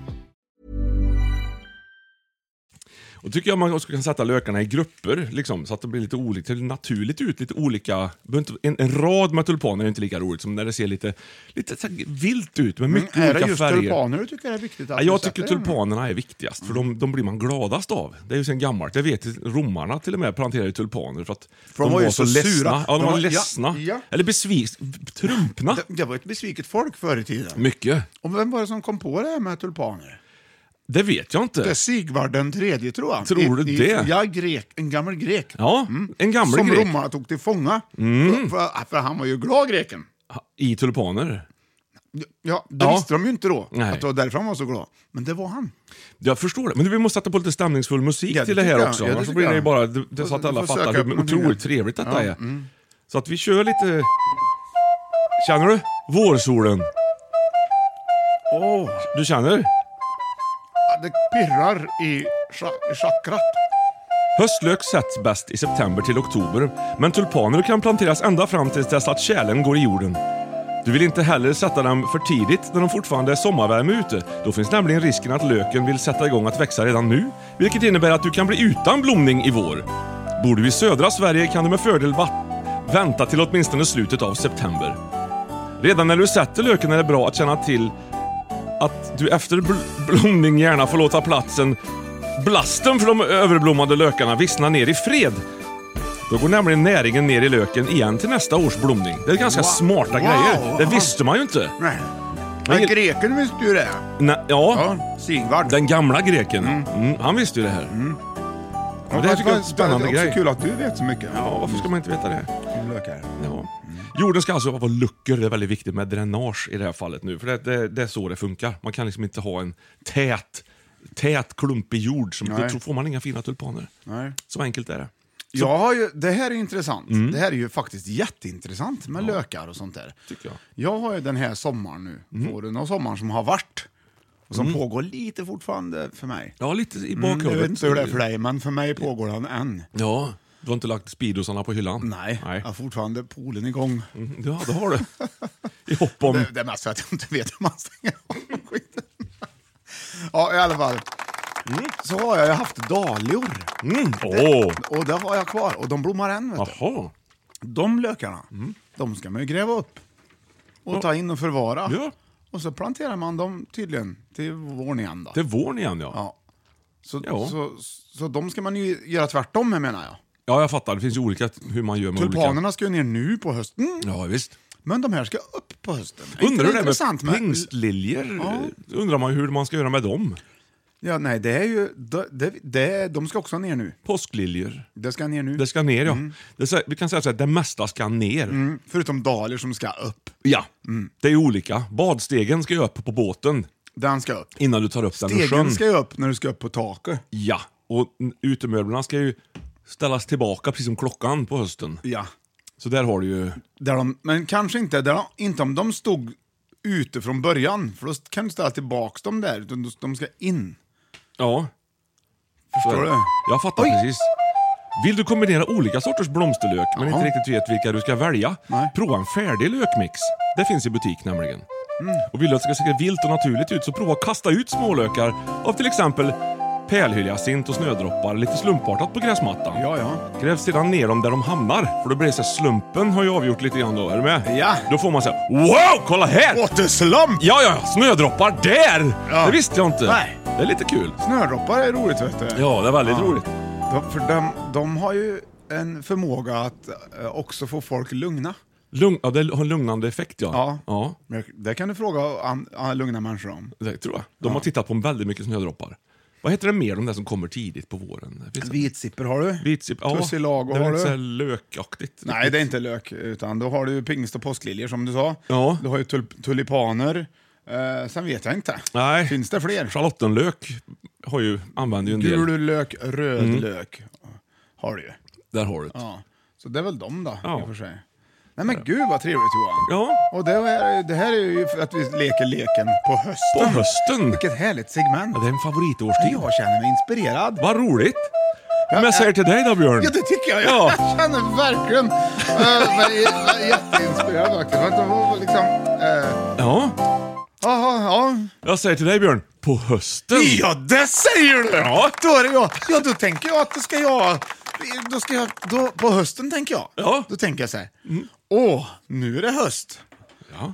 Speaker 5: Och tycker jag man också kan sätta lökarna i grupper, liksom, så att det blir lite olika, naturligt ut. Lite olika, behöver inte- en, en rad med tulpaner är inte lika roligt som när det ser lite, lite så här vilt ut med mycket
Speaker 4: Mm, Är det
Speaker 5: olika
Speaker 4: just
Speaker 5: färger.
Speaker 4: tulpaner du tycker är viktigt? Att
Speaker 5: Ja,
Speaker 4: du
Speaker 5: jag
Speaker 4: sätter
Speaker 5: tycker
Speaker 4: i den?
Speaker 5: tulpanerna är viktigast, för de, de blir man gladast av. Det är ju sen gammalt. Jag vet romarna till och med planterade ju tulpaner för att
Speaker 4: För de var ju så
Speaker 5: ledsna.
Speaker 4: sura.
Speaker 5: Ja, de,
Speaker 4: De
Speaker 5: var,
Speaker 4: var- ja,
Speaker 5: ledsna.
Speaker 4: ja.
Speaker 5: Eller besvikna. Trumpna.
Speaker 4: Det, det var ett besviket folk förr i tiden.
Speaker 5: Mycket.
Speaker 4: Och vem var det som kom på det här med tulpaner?
Speaker 5: Det vet jag inte.
Speaker 4: Det är Sigvard den tredje tror jag.
Speaker 5: Tror du det?
Speaker 4: Ja, grek, en gammal grek.
Speaker 5: Ja, en gammal
Speaker 4: Mm. som
Speaker 5: grek Mm.
Speaker 4: romarna tog till fånga. För, för, för han var ju glad greken.
Speaker 5: i tulpaner.
Speaker 4: Ja, det
Speaker 5: Ja.
Speaker 4: visste de ju inte då,
Speaker 5: Nej.
Speaker 4: att det var därför han var så glad. Men det var han.
Speaker 5: Jag förstår det, men vi måste sätta på lite stämningsfull musik
Speaker 4: Ja, det
Speaker 5: till det
Speaker 4: tycker
Speaker 5: här
Speaker 4: jag.
Speaker 5: också.
Speaker 4: Ja, det
Speaker 5: Annars
Speaker 4: tycker
Speaker 5: blir det ju
Speaker 4: jag.
Speaker 5: bara, det, så
Speaker 4: Får-
Speaker 5: att alla
Speaker 4: får söka
Speaker 5: fattar
Speaker 4: upp
Speaker 5: hur
Speaker 4: någonting
Speaker 5: otroligt
Speaker 4: där.
Speaker 5: trevligt detta
Speaker 4: Ja, mm.
Speaker 5: är. Så att vi kör lite... Känner du vårsolen?
Speaker 4: Åh,
Speaker 5: Du känner?
Speaker 4: det pirrar i, cha- i chakrat.
Speaker 5: Höstlök sätts bäst i september till oktober, men tulpaner kan planteras ända fram tills dess att kärlen går i jorden. Du vill inte heller sätta dem för tidigt när de fortfarande är sommarvärme ute. Då finns nämligen risken att löken vill sätta igång att växa redan nu, vilket innebär att du kan bli utan blomning i vår. Bor du i södra Sverige kan du med fördel va- vänta till åtminstone slutet av september. Redan när du sätter löken är det bra att känna till att du efter bl- blomning gärna får låta platsen Blasten för de överblommade lökarna vissnar ner i fred. Då går nämligen näringen ner i löken igen till nästa års blomning. Det är ganska
Speaker 4: Wow.
Speaker 5: smarta
Speaker 4: Wow.
Speaker 5: grejer. Det
Speaker 4: Aha.
Speaker 5: visste man ju inte.
Speaker 4: Nej. Men
Speaker 5: Men-
Speaker 4: greken visste ju det.
Speaker 5: Nä, ja,
Speaker 4: Ja, Sigvard.
Speaker 5: den gamla greken. Mm, han visste ju det här.
Speaker 4: Ja,
Speaker 5: det här tycker jag är en
Speaker 4: fast-
Speaker 5: spännande
Speaker 4: Det är
Speaker 5: grej.
Speaker 4: också kul att du vet så mycket.
Speaker 5: Ja, varför ska man inte veta det?
Speaker 4: Lökar.
Speaker 5: Ja. Jorden ska alltså vara luckor. Det är väldigt viktigt med dränage i det här fallet nu. För det, det, det är så det funkar. Man kan liksom inte ha en tät, tät klumpig jord. Som,
Speaker 4: Nej.
Speaker 5: då får man inga fina tulpaner.
Speaker 4: Nej.
Speaker 5: Så Mm. enkelt är det.
Speaker 4: Jag har ju, det här är intressant. Det här är ju faktiskt jätteintressant med lökar och sånt där.
Speaker 5: Tycker jag. Mm.
Speaker 4: Jag har ju den här sommaren nu, våren och sommaren som har varit. Och som pågår lite fortfarande för mig.
Speaker 5: Ja, lite i
Speaker 4: Mm, jag
Speaker 5: bakhuvudet.
Speaker 4: vet inte hur det är för dig, men för mig pågår den än.
Speaker 5: Ja, du har inte lagt speedosarna på hyllan?
Speaker 4: Nej,
Speaker 5: Nej.
Speaker 4: jag har fortfarande poolen igång.
Speaker 5: Mm, Ja, det har du. I hopp om...
Speaker 4: Det, det är mest för att jag inte vet hur man stänger av skiten. Ja, i alla fall. Så har jag ju haft dahlior.
Speaker 5: Mm. Åh!
Speaker 4: Och det har jag kvar. Och de blommar än. Vet du.
Speaker 5: Jaha.
Speaker 4: De lökarna,
Speaker 5: Mm.
Speaker 4: de ska man ju gräva upp och ta in och förvara.
Speaker 5: Ja.
Speaker 4: Och så planterar man dem tydligen till våren igen. Då.
Speaker 5: Det är våren igen ja. ja.
Speaker 4: Ja. Så,
Speaker 5: Ja.
Speaker 4: Så, så de ska man ju göra tvärtom med menar jag.
Speaker 5: jag fattar. Det finns ju olika hur man gör med olika...
Speaker 4: Tulpanerna ska ju ner nu på hösten, Mm.
Speaker 5: Ja, visst.
Speaker 4: men de här ska upp på hösten.
Speaker 5: Undrar hur
Speaker 4: Inte
Speaker 5: det
Speaker 4: intressant,
Speaker 5: är med pingstliljor?
Speaker 4: Ja.
Speaker 5: Undrar man hur man ska göra med dem?
Speaker 4: Ja, nej, det är ju... Det, det, det, de ska också ner nu.
Speaker 5: Påskliljor.
Speaker 4: Det ska ner nu.
Speaker 5: Det ska ner ja. Det, sä- vi kan säga så här, det mesta ska ner.
Speaker 4: Mm, Förutom dahlior som ska upp.
Speaker 5: Ja. Det är ju olika. Badstegen ska ju upp på båten
Speaker 4: Den ska upp.
Speaker 5: innan du tar upp den ur sjön.
Speaker 4: Stegen ska ju upp när du ska upp på taket.
Speaker 5: Ja. Och n- utemöblerna ska ju ställas tillbaka precis som klockan på hösten.
Speaker 4: Ja.
Speaker 5: Så där har du ju...
Speaker 4: Där de, men kanske inte, där de, inte om de stod ute från början, för då kan du ställa tillbaka dem där, utan de- de ska in.
Speaker 5: Ja.
Speaker 4: Förstår du?
Speaker 5: Jag fattar
Speaker 4: Oj.
Speaker 5: precis. Vill du kombinera olika sorters blomsterlök men
Speaker 4: Jaha.
Speaker 5: inte riktigt vet vilka du ska välja?
Speaker 4: Nej.
Speaker 5: Prova en färdig lökmix. Det finns i butik nämligen.
Speaker 4: Mm.
Speaker 5: Och vill du att det ska se vilt och naturligt ut så prova att kasta ut smålökar av till exempel pärlhyljacint och snödroppar lite slumpartat på gräsmattan.
Speaker 4: Ja, ja.
Speaker 5: Gräv sedan ner dem där de hamnar, för då blir det så här, slumpen har ju avgjort lite grann då, är du med?
Speaker 4: Ja.
Speaker 5: Då får man säga wow, kolla här!
Speaker 4: Återslump!
Speaker 5: Ja, ja, ja, snödroppar där!
Speaker 4: Ja.
Speaker 5: Det visste jag inte.
Speaker 4: Nej.
Speaker 5: Det är lite kul.
Speaker 4: Snördroppar är roligt vet du.
Speaker 5: Ja, det är väldigt roligt.
Speaker 4: De, för de, de har ju en förmåga att eh, också få folk lugna.
Speaker 5: Lugn, ja, det har en lugnande effekt ja.
Speaker 4: Ja.
Speaker 5: ja.
Speaker 4: Men Det kan du fråga an, an, lugna människor om.
Speaker 5: Det tror jag. De har tittat på väldigt mycket snödroppar. Vad heter det mer, de där som kommer tidigt på våren? Det finns-
Speaker 4: Vitsipper har du.
Speaker 5: Vitsipp, ja.
Speaker 4: Tussilago
Speaker 5: det är
Speaker 4: har
Speaker 5: inte
Speaker 4: du.
Speaker 5: så här lökaktigt.
Speaker 4: Nej, det är inte lök, utan då har du ju pingst och påskliljor som du sa.
Speaker 5: Ja.
Speaker 4: Du har ju tulp- tulipaner. Eh, sen vet jag inte.
Speaker 5: Nej.
Speaker 4: Finns det fler?
Speaker 5: Charlottenlök har ju, använder ju en del.
Speaker 4: Gul lök, röd
Speaker 5: Mm.
Speaker 4: lök har du ju.
Speaker 5: Där har du det.
Speaker 4: Ja. Så det är väl dem då,
Speaker 5: Ja.
Speaker 4: i och för sig. Nej men gud vad trevligt Johan.
Speaker 5: Ja.
Speaker 4: Och det här, det här är ju för att vi leker leken på hösten.
Speaker 5: På hösten!
Speaker 4: Vilket härligt segment.
Speaker 5: Ja, det är en favoritårstid.
Speaker 4: Jag känner mig inspirerad.
Speaker 5: Vad roligt! Men jag säger till dig då Björn.
Speaker 4: Ja det tycker jag.
Speaker 5: Ja.
Speaker 4: Jag känner verkligen eh, mig mig jätteinspirerad faktiskt. För att Det var liksom... eh,
Speaker 5: Ja,
Speaker 4: Jaha, ja.
Speaker 5: jag säger till dig Björn. På hösten!
Speaker 4: Ja, det säger du!
Speaker 5: Ja.
Speaker 4: Då är det jag. Ja, då tänker jag att det ska jag... Då ska jag då, på hösten tänker jag.
Speaker 5: Ja.
Speaker 4: Då tänker jag så här. Åh, nu är det höst.
Speaker 5: Ja.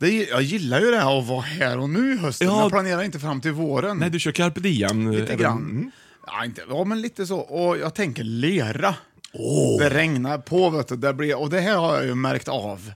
Speaker 4: Det, är- jag gillar ju det här att vara här och nu i hösten.
Speaker 5: Ja.
Speaker 4: Jag planerar inte fram till våren.
Speaker 5: Nej, du kör carpe diem. eh, mm.
Speaker 4: lite grann. Ja, inte, ja, men lite så. Och jag tänker lera. Det regnar på, vet du. Det blir, och det här har jag ju märkt av.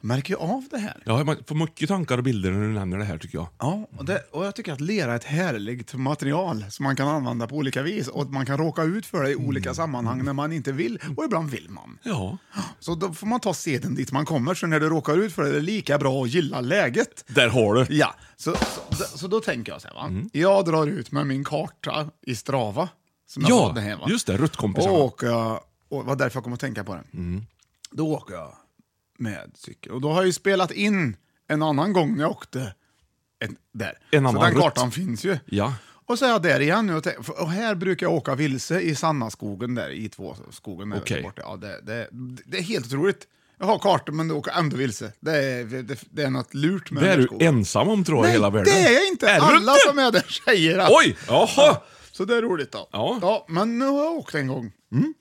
Speaker 4: Märker ju av det här.
Speaker 5: Ja, man får mycket tankar och bilder när du nämner det här tycker jag.
Speaker 4: Ja, och, det, och jag tycker att lera är ett härligt material som man kan använda på olika vis och att man kan råka ut för det
Speaker 5: Mm.
Speaker 4: i olika sammanhang när man inte vill och ibland vill man.
Speaker 5: Ja.
Speaker 4: Så då får man ta seden dit man kommer, så när du råkar ut för det är det lika bra att gilla läget.
Speaker 5: Där har du.
Speaker 4: Ja, så, så, så, då tänker jag så här, va?
Speaker 5: Mm.
Speaker 4: jag drar ut med min karta i Strava. Som jag
Speaker 5: Ja,
Speaker 4: fått här, va?
Speaker 5: just det, ruttkompisarna.
Speaker 4: Och åker jag, och det var därför jag kom att tänka på det.
Speaker 5: Mm.
Speaker 4: Då åker jag med cykel. Och då har jag ju spelat in en annan gång när jag åkte en, där.
Speaker 5: En
Speaker 4: så
Speaker 5: annan
Speaker 4: den
Speaker 5: rutt.
Speaker 4: kartan finns ju.
Speaker 5: Ja.
Speaker 4: Och så är jag där igen nu och, tänk- för- och här brukar jag åka vilse i Sannaskogen där, i två skogen där
Speaker 5: Okej.
Speaker 4: borta. Ja, det, det, det är helt otroligt. Jag har kartor men du åker ändå vilse. Det är, det, det är något lurt med
Speaker 5: Det
Speaker 4: den
Speaker 5: är
Speaker 4: där
Speaker 5: du
Speaker 4: skogen.
Speaker 5: ensam om tror jag i
Speaker 4: Nej,
Speaker 5: hela världen.
Speaker 4: det är jag inte!
Speaker 5: Är du
Speaker 4: Alla
Speaker 5: inte?
Speaker 4: som är där säger att...
Speaker 5: Oj! Jaha!
Speaker 4: Ja, så det är roligt då.
Speaker 5: Ja.
Speaker 4: men nu har jag åkt en gång. Mm.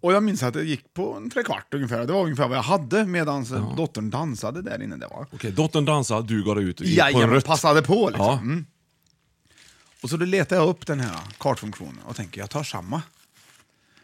Speaker 4: Och jag minns att det gick på en tre kvart ungefär. Det var ungefär vad jag hade medan dottern dansade där inne. Det var.
Speaker 5: Okej, dottern dansade, du går ut i, på en
Speaker 4: Jajamän,
Speaker 5: rutt.
Speaker 4: passade på liksom.
Speaker 5: Ja.
Speaker 4: Mm. Och så då letar jag upp den här kartfunktionen och tänker jag tar samma.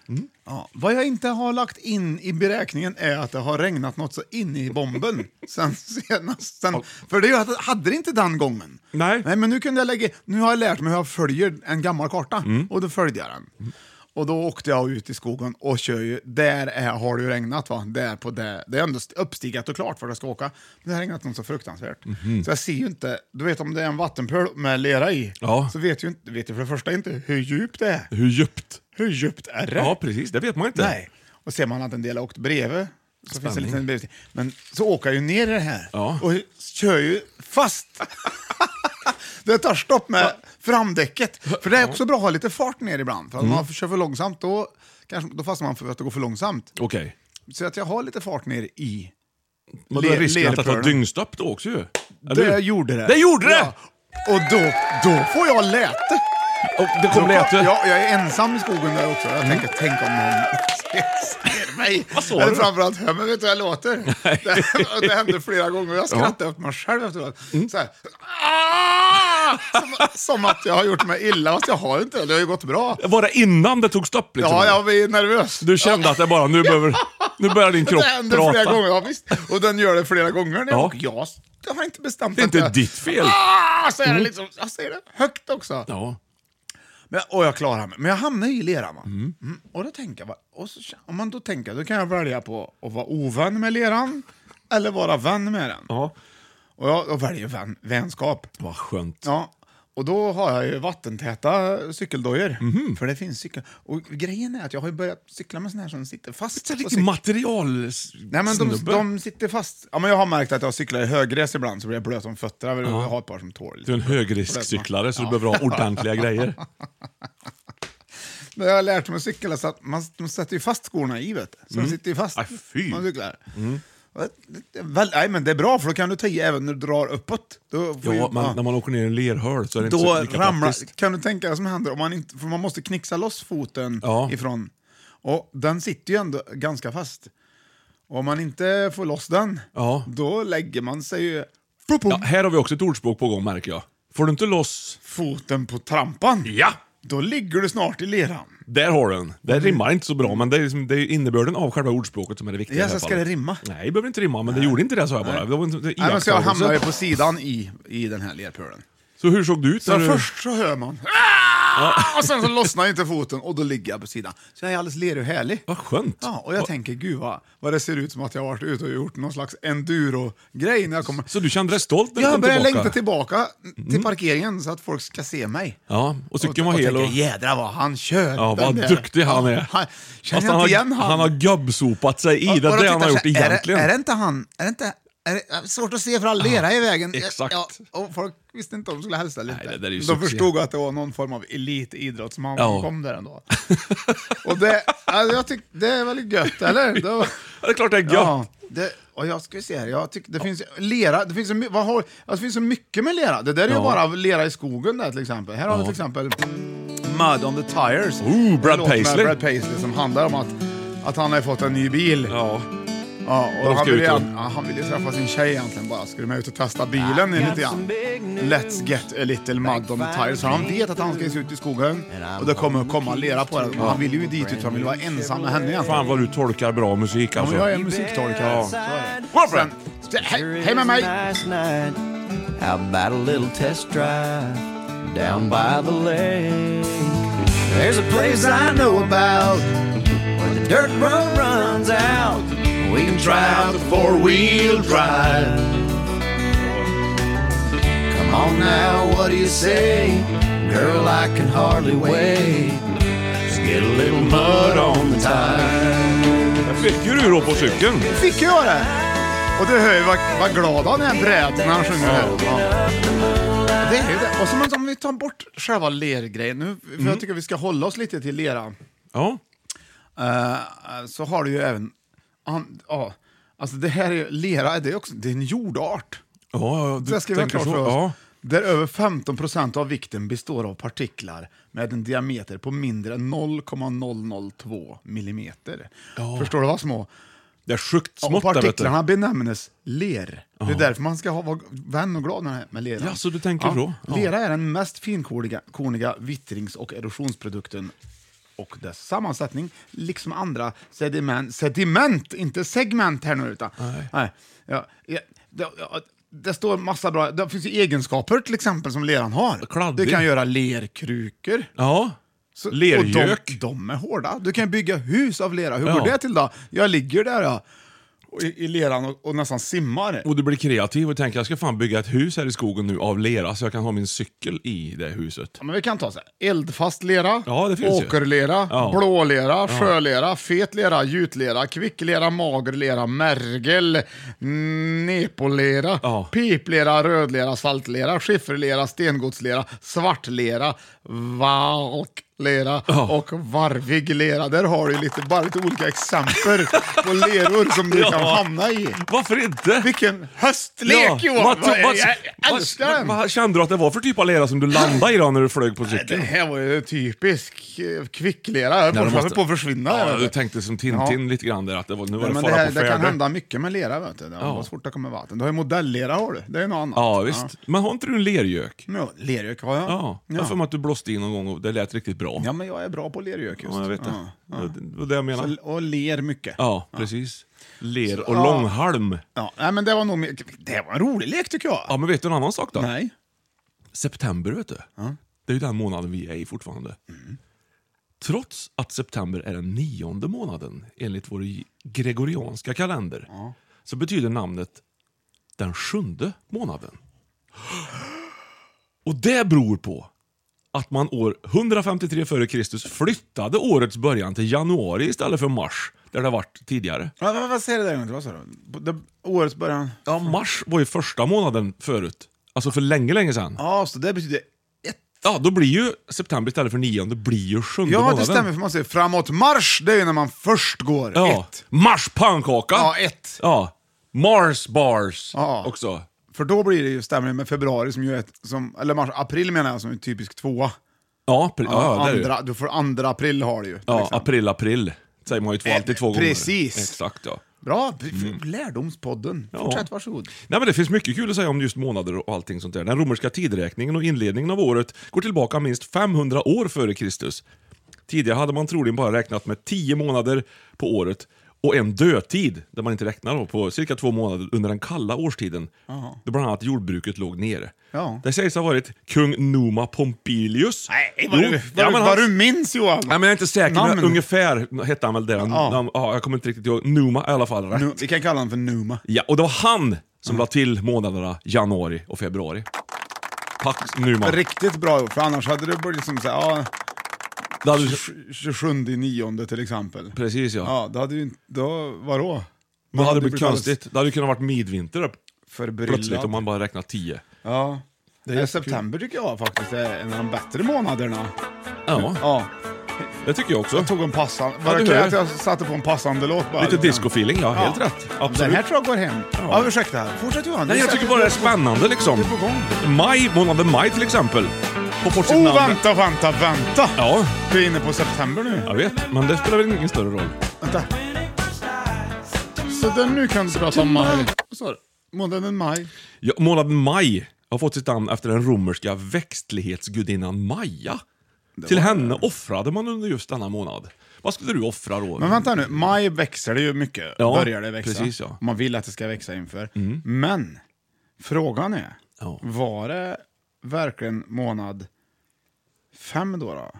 Speaker 5: Mm.
Speaker 4: Ja, vad jag inte har lagt in i beräkningen är att det har regnat något så in
Speaker 5: <laughs>
Speaker 4: i bomben sen senast. Sen, för det är ju att- hade det inte den gången.
Speaker 5: Nej.
Speaker 4: Nej men nu kunde jag lägga, nu har jag lärt mig hur jag följer en gammal karta
Speaker 5: Mm.
Speaker 4: och då följde jag den. Och då åkte jag ut i skogen och kör ju, där är, har det ju regnat va, där på det, det är ändå st- uppstigat och klart för att jag ska åka. Men det har regnat något så fruktansvärt.
Speaker 5: Mhm.
Speaker 4: Så jag ser ju inte, du vet om det är en vattenpöl med lera i,
Speaker 5: Ja.
Speaker 4: så vet ju inte, vet ju för det första inte hur djupt det är.
Speaker 5: Hur djupt?
Speaker 4: Hur djupt är det?
Speaker 5: Ja, precis. Det vet man inte.
Speaker 4: Nej. Och ser man att en del har åkt bredvid, så finns det en
Speaker 5: Spänning.
Speaker 4: liten brevstil. Men så åker jag ju ner i det här
Speaker 5: Ja.
Speaker 4: och kör ju fast. <laughs> det tar stopp med framdäcket. För det är också bra att ha lite fart ner ibland. För om
Speaker 5: Mm.
Speaker 4: man kör för långsamt, då, kanske, då fastnar man för att det går för långsamt.
Speaker 5: Okej.
Speaker 4: Så att jag har lite fart ner i.
Speaker 5: Men då är
Speaker 4: Le-
Speaker 5: risken att det tar
Speaker 4: lerpölen.
Speaker 5: dyngstopp då också ju. Eller
Speaker 4: Det
Speaker 5: hur?
Speaker 4: gjorde det.
Speaker 5: Det gjorde det!
Speaker 4: Ja. Och då, då får jag läte.
Speaker 5: Och det
Speaker 4: Då
Speaker 5: kom läte.
Speaker 4: Ja, jag är ensam i skogen där också. Jag tänker, tänk om någon ser mig.
Speaker 5: <laughs> Vad sa
Speaker 4: Eller
Speaker 5: du?
Speaker 4: framförallt, hör man vet du hur
Speaker 5: <laughs>
Speaker 4: jag låter? Det, det hände flera gånger och jag skrattade åt mig själv efteråt.
Speaker 5: Mm.
Speaker 4: Så här, "Ah!" som, som att jag har gjort mig illa, fast jag har inte det. Det har ju gått bra.
Speaker 5: Var det innan det tog stopp liksom?
Speaker 4: Ja, jag blir nervös.
Speaker 5: Du kände att det bara, nu, behöver, nu börjar din kropp
Speaker 4: det händer
Speaker 5: prata.
Speaker 4: flera gånger, ja, visst. Och den gör det flera gånger. När jag,
Speaker 5: Ja.
Speaker 4: åker. jag, jag har inte bestämt
Speaker 5: Det är
Speaker 4: att
Speaker 5: inte
Speaker 4: jag,
Speaker 5: ditt fel. Mm.
Speaker 4: Ah! Så är det liksom, jag säger det högt också.
Speaker 5: Ja.
Speaker 4: Men, och jag klarar mig. Men jag hamnar i leran. Va? Mm. Och då tänker jag, va, och så, kän- om man då tänker, då kan jag välja på att vara ovän med leran eller vara vän med den.
Speaker 5: ja.
Speaker 4: Och jag, jag väljer vän, vänskap.
Speaker 5: Vad skönt.
Speaker 4: Ja, och då har jag ju vattentäta cykeldojor.
Speaker 5: Mhm.
Speaker 4: För det finns cykel... Och grejen är att jag har ju börjat cykla med såna här som sitter fast. på
Speaker 5: Vilken
Speaker 4: cykeln.
Speaker 5: material...
Speaker 4: Nej men de,
Speaker 5: snubbe.
Speaker 4: de sitter fast. Ja, men jag har märkt att jag cyklar i högres ibland så blir jag blöt om fötterna. Jag vill ha ett par som tål.
Speaker 5: Du är en högriskcyklare så du behöver ha ordentliga grejer.
Speaker 4: Men jag har lärt mig att cykla så att man, de sätter ju fast skorna i vet du. Så de sitter ju fast.
Speaker 5: Mm. Aj, fy. Mm.
Speaker 4: Man cyklar. Och det- det- Väl, nej, men det är bra för då kan du ta i även när du drar uppåt. Då <laughs> får
Speaker 5: Ja,
Speaker 4: ju,
Speaker 5: men när man åker ner i en lerhöl så är det inte
Speaker 4: då
Speaker 5: så lika
Speaker 4: ramlar,
Speaker 5: praktiskt.
Speaker 4: Kan du tänka dig vad som händer? Om man inte, för man måste knixa loss foten
Speaker 5: Ja.
Speaker 4: ifrån. Och den sitter ju ändå ganska fast. Och om man inte får loss den,
Speaker 5: Ja.
Speaker 4: då lägger man sig ju
Speaker 5: Ja, här har vi också ett ordspråk på gång märker jag. Får du inte loss...
Speaker 4: foten på trampan.
Speaker 5: Ja!
Speaker 4: Då ligger du snart i leran.
Speaker 5: Där har du den. Det
Speaker 4: Mm.
Speaker 5: rimmar inte så bra, men det är, liksom, det är innebörden av själva ordspråket som är det viktiga. i
Speaker 4: Ja,
Speaker 5: det här
Speaker 4: så ska
Speaker 5: fallet.
Speaker 4: det rimma?
Speaker 5: Nej, det behöver inte rimma, men det gjorde inte det sa jag bara. Det var inte, det
Speaker 4: Nej, men så jag
Speaker 5: iakttagelse.
Speaker 4: hamnar ju på sidan i, i den här lerpölen.
Speaker 5: Så hur såg du ut?
Speaker 4: Så
Speaker 5: när du...
Speaker 4: först så hör man "Ah!" och sen så lossnar inte foten och då ligger jag på sidan. Så jag är alldeles lerig och härlig.
Speaker 5: Vad skönt.
Speaker 4: Ja, och jag tänker gud vad, vad det ser ut som att jag har varit ute och gjort någon slags enduro-grej när jag kommer.
Speaker 5: Så du kände dig stolt när du
Speaker 4: jag
Speaker 5: kom
Speaker 4: börjar
Speaker 5: tillbaka? Mm.
Speaker 4: längta tillbaka till parkeringen så att folk ska se mig.
Speaker 5: Ja, och cykeln var
Speaker 4: och,
Speaker 5: hel. Och...
Speaker 4: Och tänker, jädrar vad han kör.
Speaker 5: Ja,
Speaker 4: den
Speaker 5: vad
Speaker 4: där."
Speaker 5: duktig han är.
Speaker 4: Ja, han, känner
Speaker 5: Fast
Speaker 4: jag
Speaker 5: har,
Speaker 4: inte igen han?
Speaker 5: han har gubbsopat sig i.
Speaker 4: Ja,
Speaker 5: det
Speaker 4: och
Speaker 5: är
Speaker 4: då
Speaker 5: det han
Speaker 4: tittar
Speaker 5: har
Speaker 4: jag
Speaker 5: gjort
Speaker 4: så här,
Speaker 5: egentligen.
Speaker 4: Är det, är det inte han? Är det inte... Är det, jag har svårt att se för all lera i vägen.
Speaker 5: exakt.
Speaker 4: och folk visste inte om de skulle hälsa eller inte.
Speaker 5: det där är ju
Speaker 4: de
Speaker 5: succé.
Speaker 4: förstod att det var någon form av elitidrottsman
Speaker 5: Ja.
Speaker 4: som kom där ändå. <laughs> och det, alltså, jag tyck, det är väldigt gött, eller? Det var-
Speaker 5: Ja, det är klart det är gött.
Speaker 4: Ja, det, och jag ska se här, jag tycker det finns lera, det finns, så my- vad har, alltså, det finns så mycket med lera. Det där är ju
Speaker 5: Ja.
Speaker 4: bara lera i skogen där till exempel. Här har vi
Speaker 5: Ja.
Speaker 4: till exempel Mud on the Tires.
Speaker 5: Ooh, Brad
Speaker 4: En låt med
Speaker 5: Paisley.
Speaker 4: Brad Paisley som handlar om att, att han har fått en ny bil.
Speaker 5: Ja.
Speaker 4: Ja,
Speaker 5: När
Speaker 4: och
Speaker 5: de
Speaker 4: han
Speaker 5: ska
Speaker 4: ville,
Speaker 5: ut och-
Speaker 4: ja, han ville ju träffa sin tjej egentligen bara. Skulle med ut och testa bilen lite grann. Let's get a little mud on the tires. Så han vet att han ska ge sig ut i skogen och det kommer att komma lera på den. Och han vill ju dit ut för han vill vara ensam med henne egentligen.
Speaker 5: Fan vad du tolkar bra musik
Speaker 4: Ja, men
Speaker 5: alltså.
Speaker 4: jag är musiktolkare.
Speaker 5: Ja.
Speaker 4: Så är det.
Speaker 5: Varför?
Speaker 4: Sen- så- Hej, hej med mig!
Speaker 8: Last night, how about a little test drive down by the lake? There's a place I know about where the dirt road runs out. We can try out the four wheel drive. Come on now, what do you say? Girl, I can hardly wait. Just get a little mud on the tires.
Speaker 5: Jag fick ju du då på cykeln.
Speaker 4: Fick jag det? Och du hör ju vad, vad glad han är, bräd, när han sjunger det. Ja. Det är ju det. Och så, men om vi tar bort själva lergrejen nu, för jag tycker vi ska hålla oss lite till lera.
Speaker 5: Ja.
Speaker 4: Eh, så har du ju även... an- Ja, alltså det här är ju, lera, det är, också, det är en jordart.
Speaker 5: Ja, ja, du
Speaker 4: Det ska vi ha
Speaker 5: tänker
Speaker 4: klart
Speaker 5: så.
Speaker 4: för oss.
Speaker 5: Ja.
Speaker 4: Där över 15 procent av vikten består av partiklar med en diameter på mindre än 0,002 millimeter. Förstår du vad små?
Speaker 5: Det är sjukt
Speaker 4: Och
Speaker 5: smått där vet du.
Speaker 4: partiklarna benämnes ler. Det är därför man ska ha, vara vän och glad med- med lera.
Speaker 5: Ja, så du tänker så. Ja.
Speaker 4: Lera är den mest finkorniga korniga vittrings och erosionsprodukten och dess sammansättning, liksom andra sediment, sediment inte segment här nu. Utan, nej. ja, ja, det, ja, det står massa bra, det finns ju egenskaper till exempel som leran har.
Speaker 5: Kladdig.
Speaker 4: Det kan göra lerkrukor.
Speaker 5: Ja.
Speaker 4: Så-
Speaker 5: Lergök.
Speaker 4: Och de, de är hårda. Du kan bygga hus av lera. Hur
Speaker 5: Ja.
Speaker 4: går det till då? Jag ligger där ja, och i, i leran och, och nästan simmar.
Speaker 5: Och du blir kreativ och tänker jag ska fan bygga ett hus här i skogen nu av lera så jag kan ha min cykel i det huset.
Speaker 4: Ja, men vi kan ta så här. eldfast lera,
Speaker 5: Ja, det finns ju.
Speaker 4: åkerlera,
Speaker 5: Ja.
Speaker 4: blålera, sjölera, fet lera, jutlera, kvicklera, magerlera, märgel, nepolera,
Speaker 5: Ja.
Speaker 4: piplera, rödlera, saltlera, skifferlera, stengodslera, svartlera, valklera och varvig lera. Där har du lite, bara lite olika exempel på leror som du
Speaker 5: <laughs>
Speaker 4: kan
Speaker 5: Ja.
Speaker 4: hamna i.
Speaker 5: Varför inte?
Speaker 4: Vilken höstlek Johan!
Speaker 5: vad-
Speaker 4: Vad-
Speaker 5: vad-
Speaker 4: jag älskar
Speaker 5: vad-
Speaker 4: den!
Speaker 5: Vad kände du att det var för typ av lera som du landade i då när du flög på
Speaker 4: Det
Speaker 5: cykeln?
Speaker 4: här var ju typisk eh, kvicklera. Jag höll
Speaker 5: Ja,
Speaker 4: på
Speaker 5: du
Speaker 4: måste... på att försvinna. här,
Speaker 5: Ja,
Speaker 4: vet
Speaker 5: du
Speaker 4: du.
Speaker 5: tänkte som Tintin
Speaker 4: Ja.
Speaker 5: lite grann där, att det var, nu var
Speaker 4: Nej,
Speaker 5: det
Speaker 4: men
Speaker 5: fara
Speaker 4: det, här,
Speaker 5: på
Speaker 4: det kan
Speaker 5: färde.
Speaker 4: hända mycket med lera. Vet du. Det var svårt att komma i vatten. Du har ju modellera har du. Det är ju något annat.
Speaker 5: Ja, visst. Men har inte du en lergök?
Speaker 4: Men ja, lergök har jag.
Speaker 5: Ja. Jag har för
Speaker 4: Ja.
Speaker 5: mig att du blåste in någon gång och det lät riktigt bra.
Speaker 4: ja, men jag är bra på lergök just.
Speaker 5: Ja, jag vet det.
Speaker 4: Ja.
Speaker 5: Ja, Det var det jag menade.
Speaker 4: Så- Och ler mycket.
Speaker 5: Ja, precis. Ler och
Speaker 4: Ja.
Speaker 5: långhalm.
Speaker 4: Ja, Nej, men det var nog... mer- Det var en rolig lek tycker jag.
Speaker 5: Ja, men vet du en annan sak då?
Speaker 4: Nej.
Speaker 5: September, vet du. Det är ju den månaden vi är i fortfarande. Trots att september är den nionde månaden enligt vår gregorianska kalender så betyder namnet den sjunde månaden. Och det beror på att man år 153 f.Kr. flyttade årets början till januari istället för mars, där det varit tidigare.
Speaker 4: Ja, men vad säger det där? Vad sa du? Det, årets början...
Speaker 5: Ja, mars var ju första månaden förut. Alltså för länge, länge sedan.
Speaker 4: Ja, så det betyder... Ett.
Speaker 5: Ja, då blir ju september istället för nionde blir ju sjunde
Speaker 4: Ja,
Speaker 5: månaden.
Speaker 4: det stämmer. För man säger framåt marsch, det är ju när man först går.
Speaker 5: Ja.
Speaker 4: Ett.
Speaker 5: Mars pannkaka.
Speaker 4: Ja, ett.
Speaker 5: Ja. Mars bars
Speaker 4: Ja.
Speaker 5: också.
Speaker 4: För då blir det ju stämmer med februari, som ju är ett, som, eller mars, april menar jag, som är typisk tvåa.
Speaker 5: Ja, pre- ja, det är det ju.
Speaker 4: andra, du får andra april har du ju. till
Speaker 5: ja
Speaker 4: exempel.
Speaker 5: april, april. Säger man ju två,
Speaker 4: Eh,
Speaker 5: alltid två gånger.
Speaker 4: precis.
Speaker 5: Exakt, ja.
Speaker 4: Bra, b- lärdomspodden.
Speaker 5: Mm. Ja.
Speaker 4: Fortsätt, varsågod.
Speaker 5: Nej, men det finns mycket kul att säga om just månader och allting sånt där. Den romerska tidräkningen och inledningen av året går tillbaka minst 500 år före Kristus. Tidigare hade man troligen bara räknat med 10 månader på året och en dödtid, där man inte räknar då, på cirka två månader under den kalla årstiden, då bland annat jordbruket låg nere.
Speaker 4: Ja.
Speaker 5: Det sägs ha varit kung Numa Pompilius.
Speaker 4: vad,
Speaker 5: Jo,
Speaker 4: du,
Speaker 5: ja,
Speaker 4: vad,
Speaker 5: men han-
Speaker 4: vad du minns Johan!
Speaker 5: Nej, men jag är inte säker, men
Speaker 4: Namn.
Speaker 5: ungefär hette han väl det.
Speaker 4: Ja.
Speaker 5: Ja. Ja, jag kommer inte riktigt ihåg. Numa i alla fall, rätt.
Speaker 4: Nu, vi kan kalla honom för Numa.
Speaker 5: Ja, och det var han
Speaker 4: Mm.
Speaker 5: som la till månaderna januari och februari. Tack Numa.
Speaker 4: Riktigt bra gjort, för annars hade det blivit som såhär, ja,
Speaker 5: Det hade du-
Speaker 4: 27 i nionde till exempel.
Speaker 5: Precis ja.
Speaker 4: Ja, då hade ju inte, då, vadå?
Speaker 5: Då
Speaker 4: Man
Speaker 5: hade det blivit
Speaker 4: alldeles
Speaker 5: konstigt. Det hade ju kunnat varit midvinter då,
Speaker 4: Förbryllad.
Speaker 5: plötsligt om man bara räknat 10.
Speaker 4: Ja.
Speaker 5: är
Speaker 4: Nej,
Speaker 5: jättekul.
Speaker 4: september tycker jag faktiskt är en av de bättre månaderna.
Speaker 5: Ja,
Speaker 4: Ja,
Speaker 5: det tycker jag också.
Speaker 4: jag tog en passande,
Speaker 5: Ja,
Speaker 4: var
Speaker 5: du
Speaker 4: det okej
Speaker 5: hör.
Speaker 4: att jag satte på en passande låt bara?
Speaker 5: Lite
Speaker 4: Lite grann.
Speaker 5: disco-feeling, ja. Helt rätt. Absolut.
Speaker 4: Den här tror jag går hem. Ja, ursäkta. Fortsätt Johan.
Speaker 5: Nej, jag tycker bara det är spännande liksom.
Speaker 4: Du är på gång.
Speaker 5: Maj, månaden maj till exempel. På fort sitt
Speaker 4: Oh,
Speaker 5: namn.
Speaker 4: vänta, vänta, vänta!
Speaker 5: Ja,
Speaker 4: Vi är inne på september nu.
Speaker 5: jag vet. Men det spelar väl ingen större roll.
Speaker 4: Vänta. Så den nu kan du prata om maj. Vad sa du? Månaden maj.
Speaker 5: Ja, månaden maj har fått sitt namn efter den romerska växtlighetsgudinnan Maja. Till henne offrade man under just denna månad. Vad skulle du offra då?
Speaker 4: Men vänta nu, maj växer det ju mycket.
Speaker 5: Ja,
Speaker 4: Börjar det växa.
Speaker 5: precis, ja. Mm.
Speaker 4: Man vill att det ska växa inför. Men frågan är,
Speaker 5: Ja.
Speaker 4: var det verkligen månad fem då? då?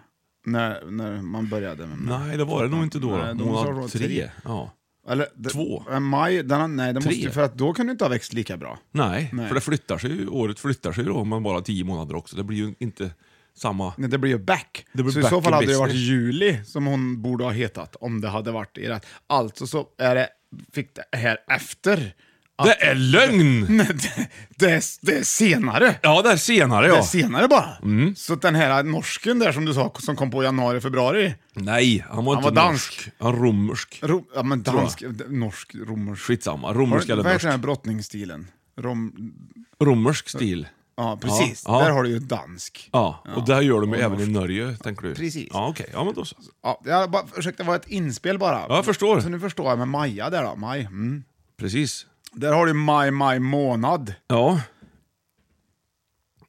Speaker 4: När, när man började med maj?
Speaker 5: Nej, det var det nog inte då.
Speaker 4: Nej,
Speaker 5: då
Speaker 4: de sa då
Speaker 5: månad
Speaker 4: tre.
Speaker 5: tre. Ja.
Speaker 4: Eller, det-
Speaker 5: Två.
Speaker 4: eh, Maj, den, har- nej, den
Speaker 5: Tre.
Speaker 4: måste, ju- för att då kan du inte ha växt lika bra.
Speaker 5: Nej,
Speaker 4: Nej.
Speaker 5: för det flyttar sig ju, året flyttar sig ju då om man bara har tio månader också. Det blir ju inte samma...
Speaker 4: Nej, det blir ju back.
Speaker 5: Det blir
Speaker 4: så i
Speaker 5: back
Speaker 4: så fall
Speaker 5: in
Speaker 4: hade det varit
Speaker 5: business.
Speaker 4: juli som hon borde ha hetat om det hade varit i rätt. Alltså så är det, fick det här efter. Att-
Speaker 5: Det är lögn!
Speaker 4: <laughs> Nej, det, det, är, det är senare.
Speaker 5: Ja, det är senare
Speaker 4: Det
Speaker 5: ja.
Speaker 4: är
Speaker 5: Mm.
Speaker 4: senare bara. Så att den här norsken där som du sa, som kom på januari, februari.
Speaker 5: Nej, han var
Speaker 4: Han
Speaker 5: inte
Speaker 4: var
Speaker 5: norsk. Han var romersk.
Speaker 4: Ro, ja men dansk, d- norsk, romersk.
Speaker 5: Skitsamma,
Speaker 4: Har
Speaker 5: romersk
Speaker 4: du-
Speaker 5: eller
Speaker 4: Vad heter den här
Speaker 5: norsk.
Speaker 4: brottningsstilen? Rom,
Speaker 5: Romersk stil.
Speaker 4: ja, precis.
Speaker 5: Ja, ja.
Speaker 4: Där har du ju dansk.
Speaker 5: Ja, och det här gör de ju även i
Speaker 4: norsk.
Speaker 5: Norge, tänker du?
Speaker 4: Precis.
Speaker 5: Ja, okej. Ja, men då så.
Speaker 4: Ja, jag bara, ursäkta, det var ett inspel bara.
Speaker 5: Ja, jag förstår.
Speaker 4: Så nu förstår jag med Maja där då. Maj. Mm.
Speaker 5: Precis.
Speaker 4: Där har du maj, maj månad.
Speaker 5: Ja.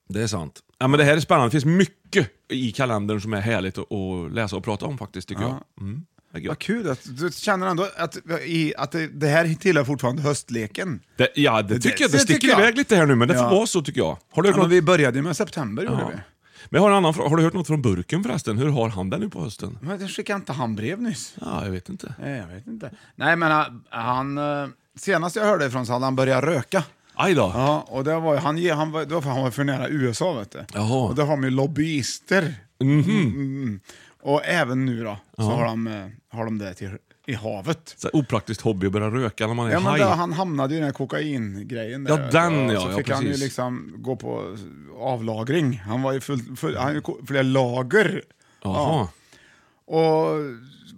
Speaker 5: Det är sant. Ja, men det här är spännande. Det finns mycket i kalendern som är härligt att, att läsa och prata om faktiskt, tycker jag. Mm. Det, är
Speaker 4: Vad
Speaker 5: gött.
Speaker 4: kul att du känner ändå att, i, att det, det här tillhör fortfarande höstleken.
Speaker 5: det, ja, det,
Speaker 4: Det-
Speaker 5: tycker jag.
Speaker 4: det
Speaker 5: Det
Speaker 4: tycker
Speaker 5: sticker
Speaker 4: jag.
Speaker 5: iväg lite här nu, men det får
Speaker 4: Ja.
Speaker 5: vara så tycker jag. Har du hört
Speaker 4: Ja, men
Speaker 5: något?
Speaker 4: vi började ju med september gjorde
Speaker 5: Ja.
Speaker 4: vi.
Speaker 5: Men jag har, en annan, fråga. har du hört något från Burken förresten? Hur har han det nu på hösten?
Speaker 4: Men det skickade inte han brev nyss?
Speaker 5: Ja, jag vet inte.
Speaker 4: Nej, jag vet inte. Nej, men han- han... eh, Senast jag hörde ifrån så hade han börjat röka.
Speaker 5: Aj då.
Speaker 4: Ja, och det var ju, han, ge- han, var- det var för han var för nära USA vet du.
Speaker 5: Jaha. Mhm.
Speaker 4: Och där har de ju lobbyister. Mm. Och även nu då, så har de, eh, har de det till, i havet.
Speaker 5: Så här opraktiskt hobby att börja röka när man är
Speaker 4: Ja, men
Speaker 5: high.
Speaker 4: där, han hamnade ju i den här kokaingrejen. Där,
Speaker 5: Ja,
Speaker 4: vet du.
Speaker 5: den,
Speaker 4: Och
Speaker 5: ja,
Speaker 4: Så
Speaker 5: ja,
Speaker 4: fick han ju
Speaker 5: precis.
Speaker 4: liksom gå på avlagring. Han var ju full, full, han, hade ju ko- flera lager.
Speaker 5: Jaha.
Speaker 4: Och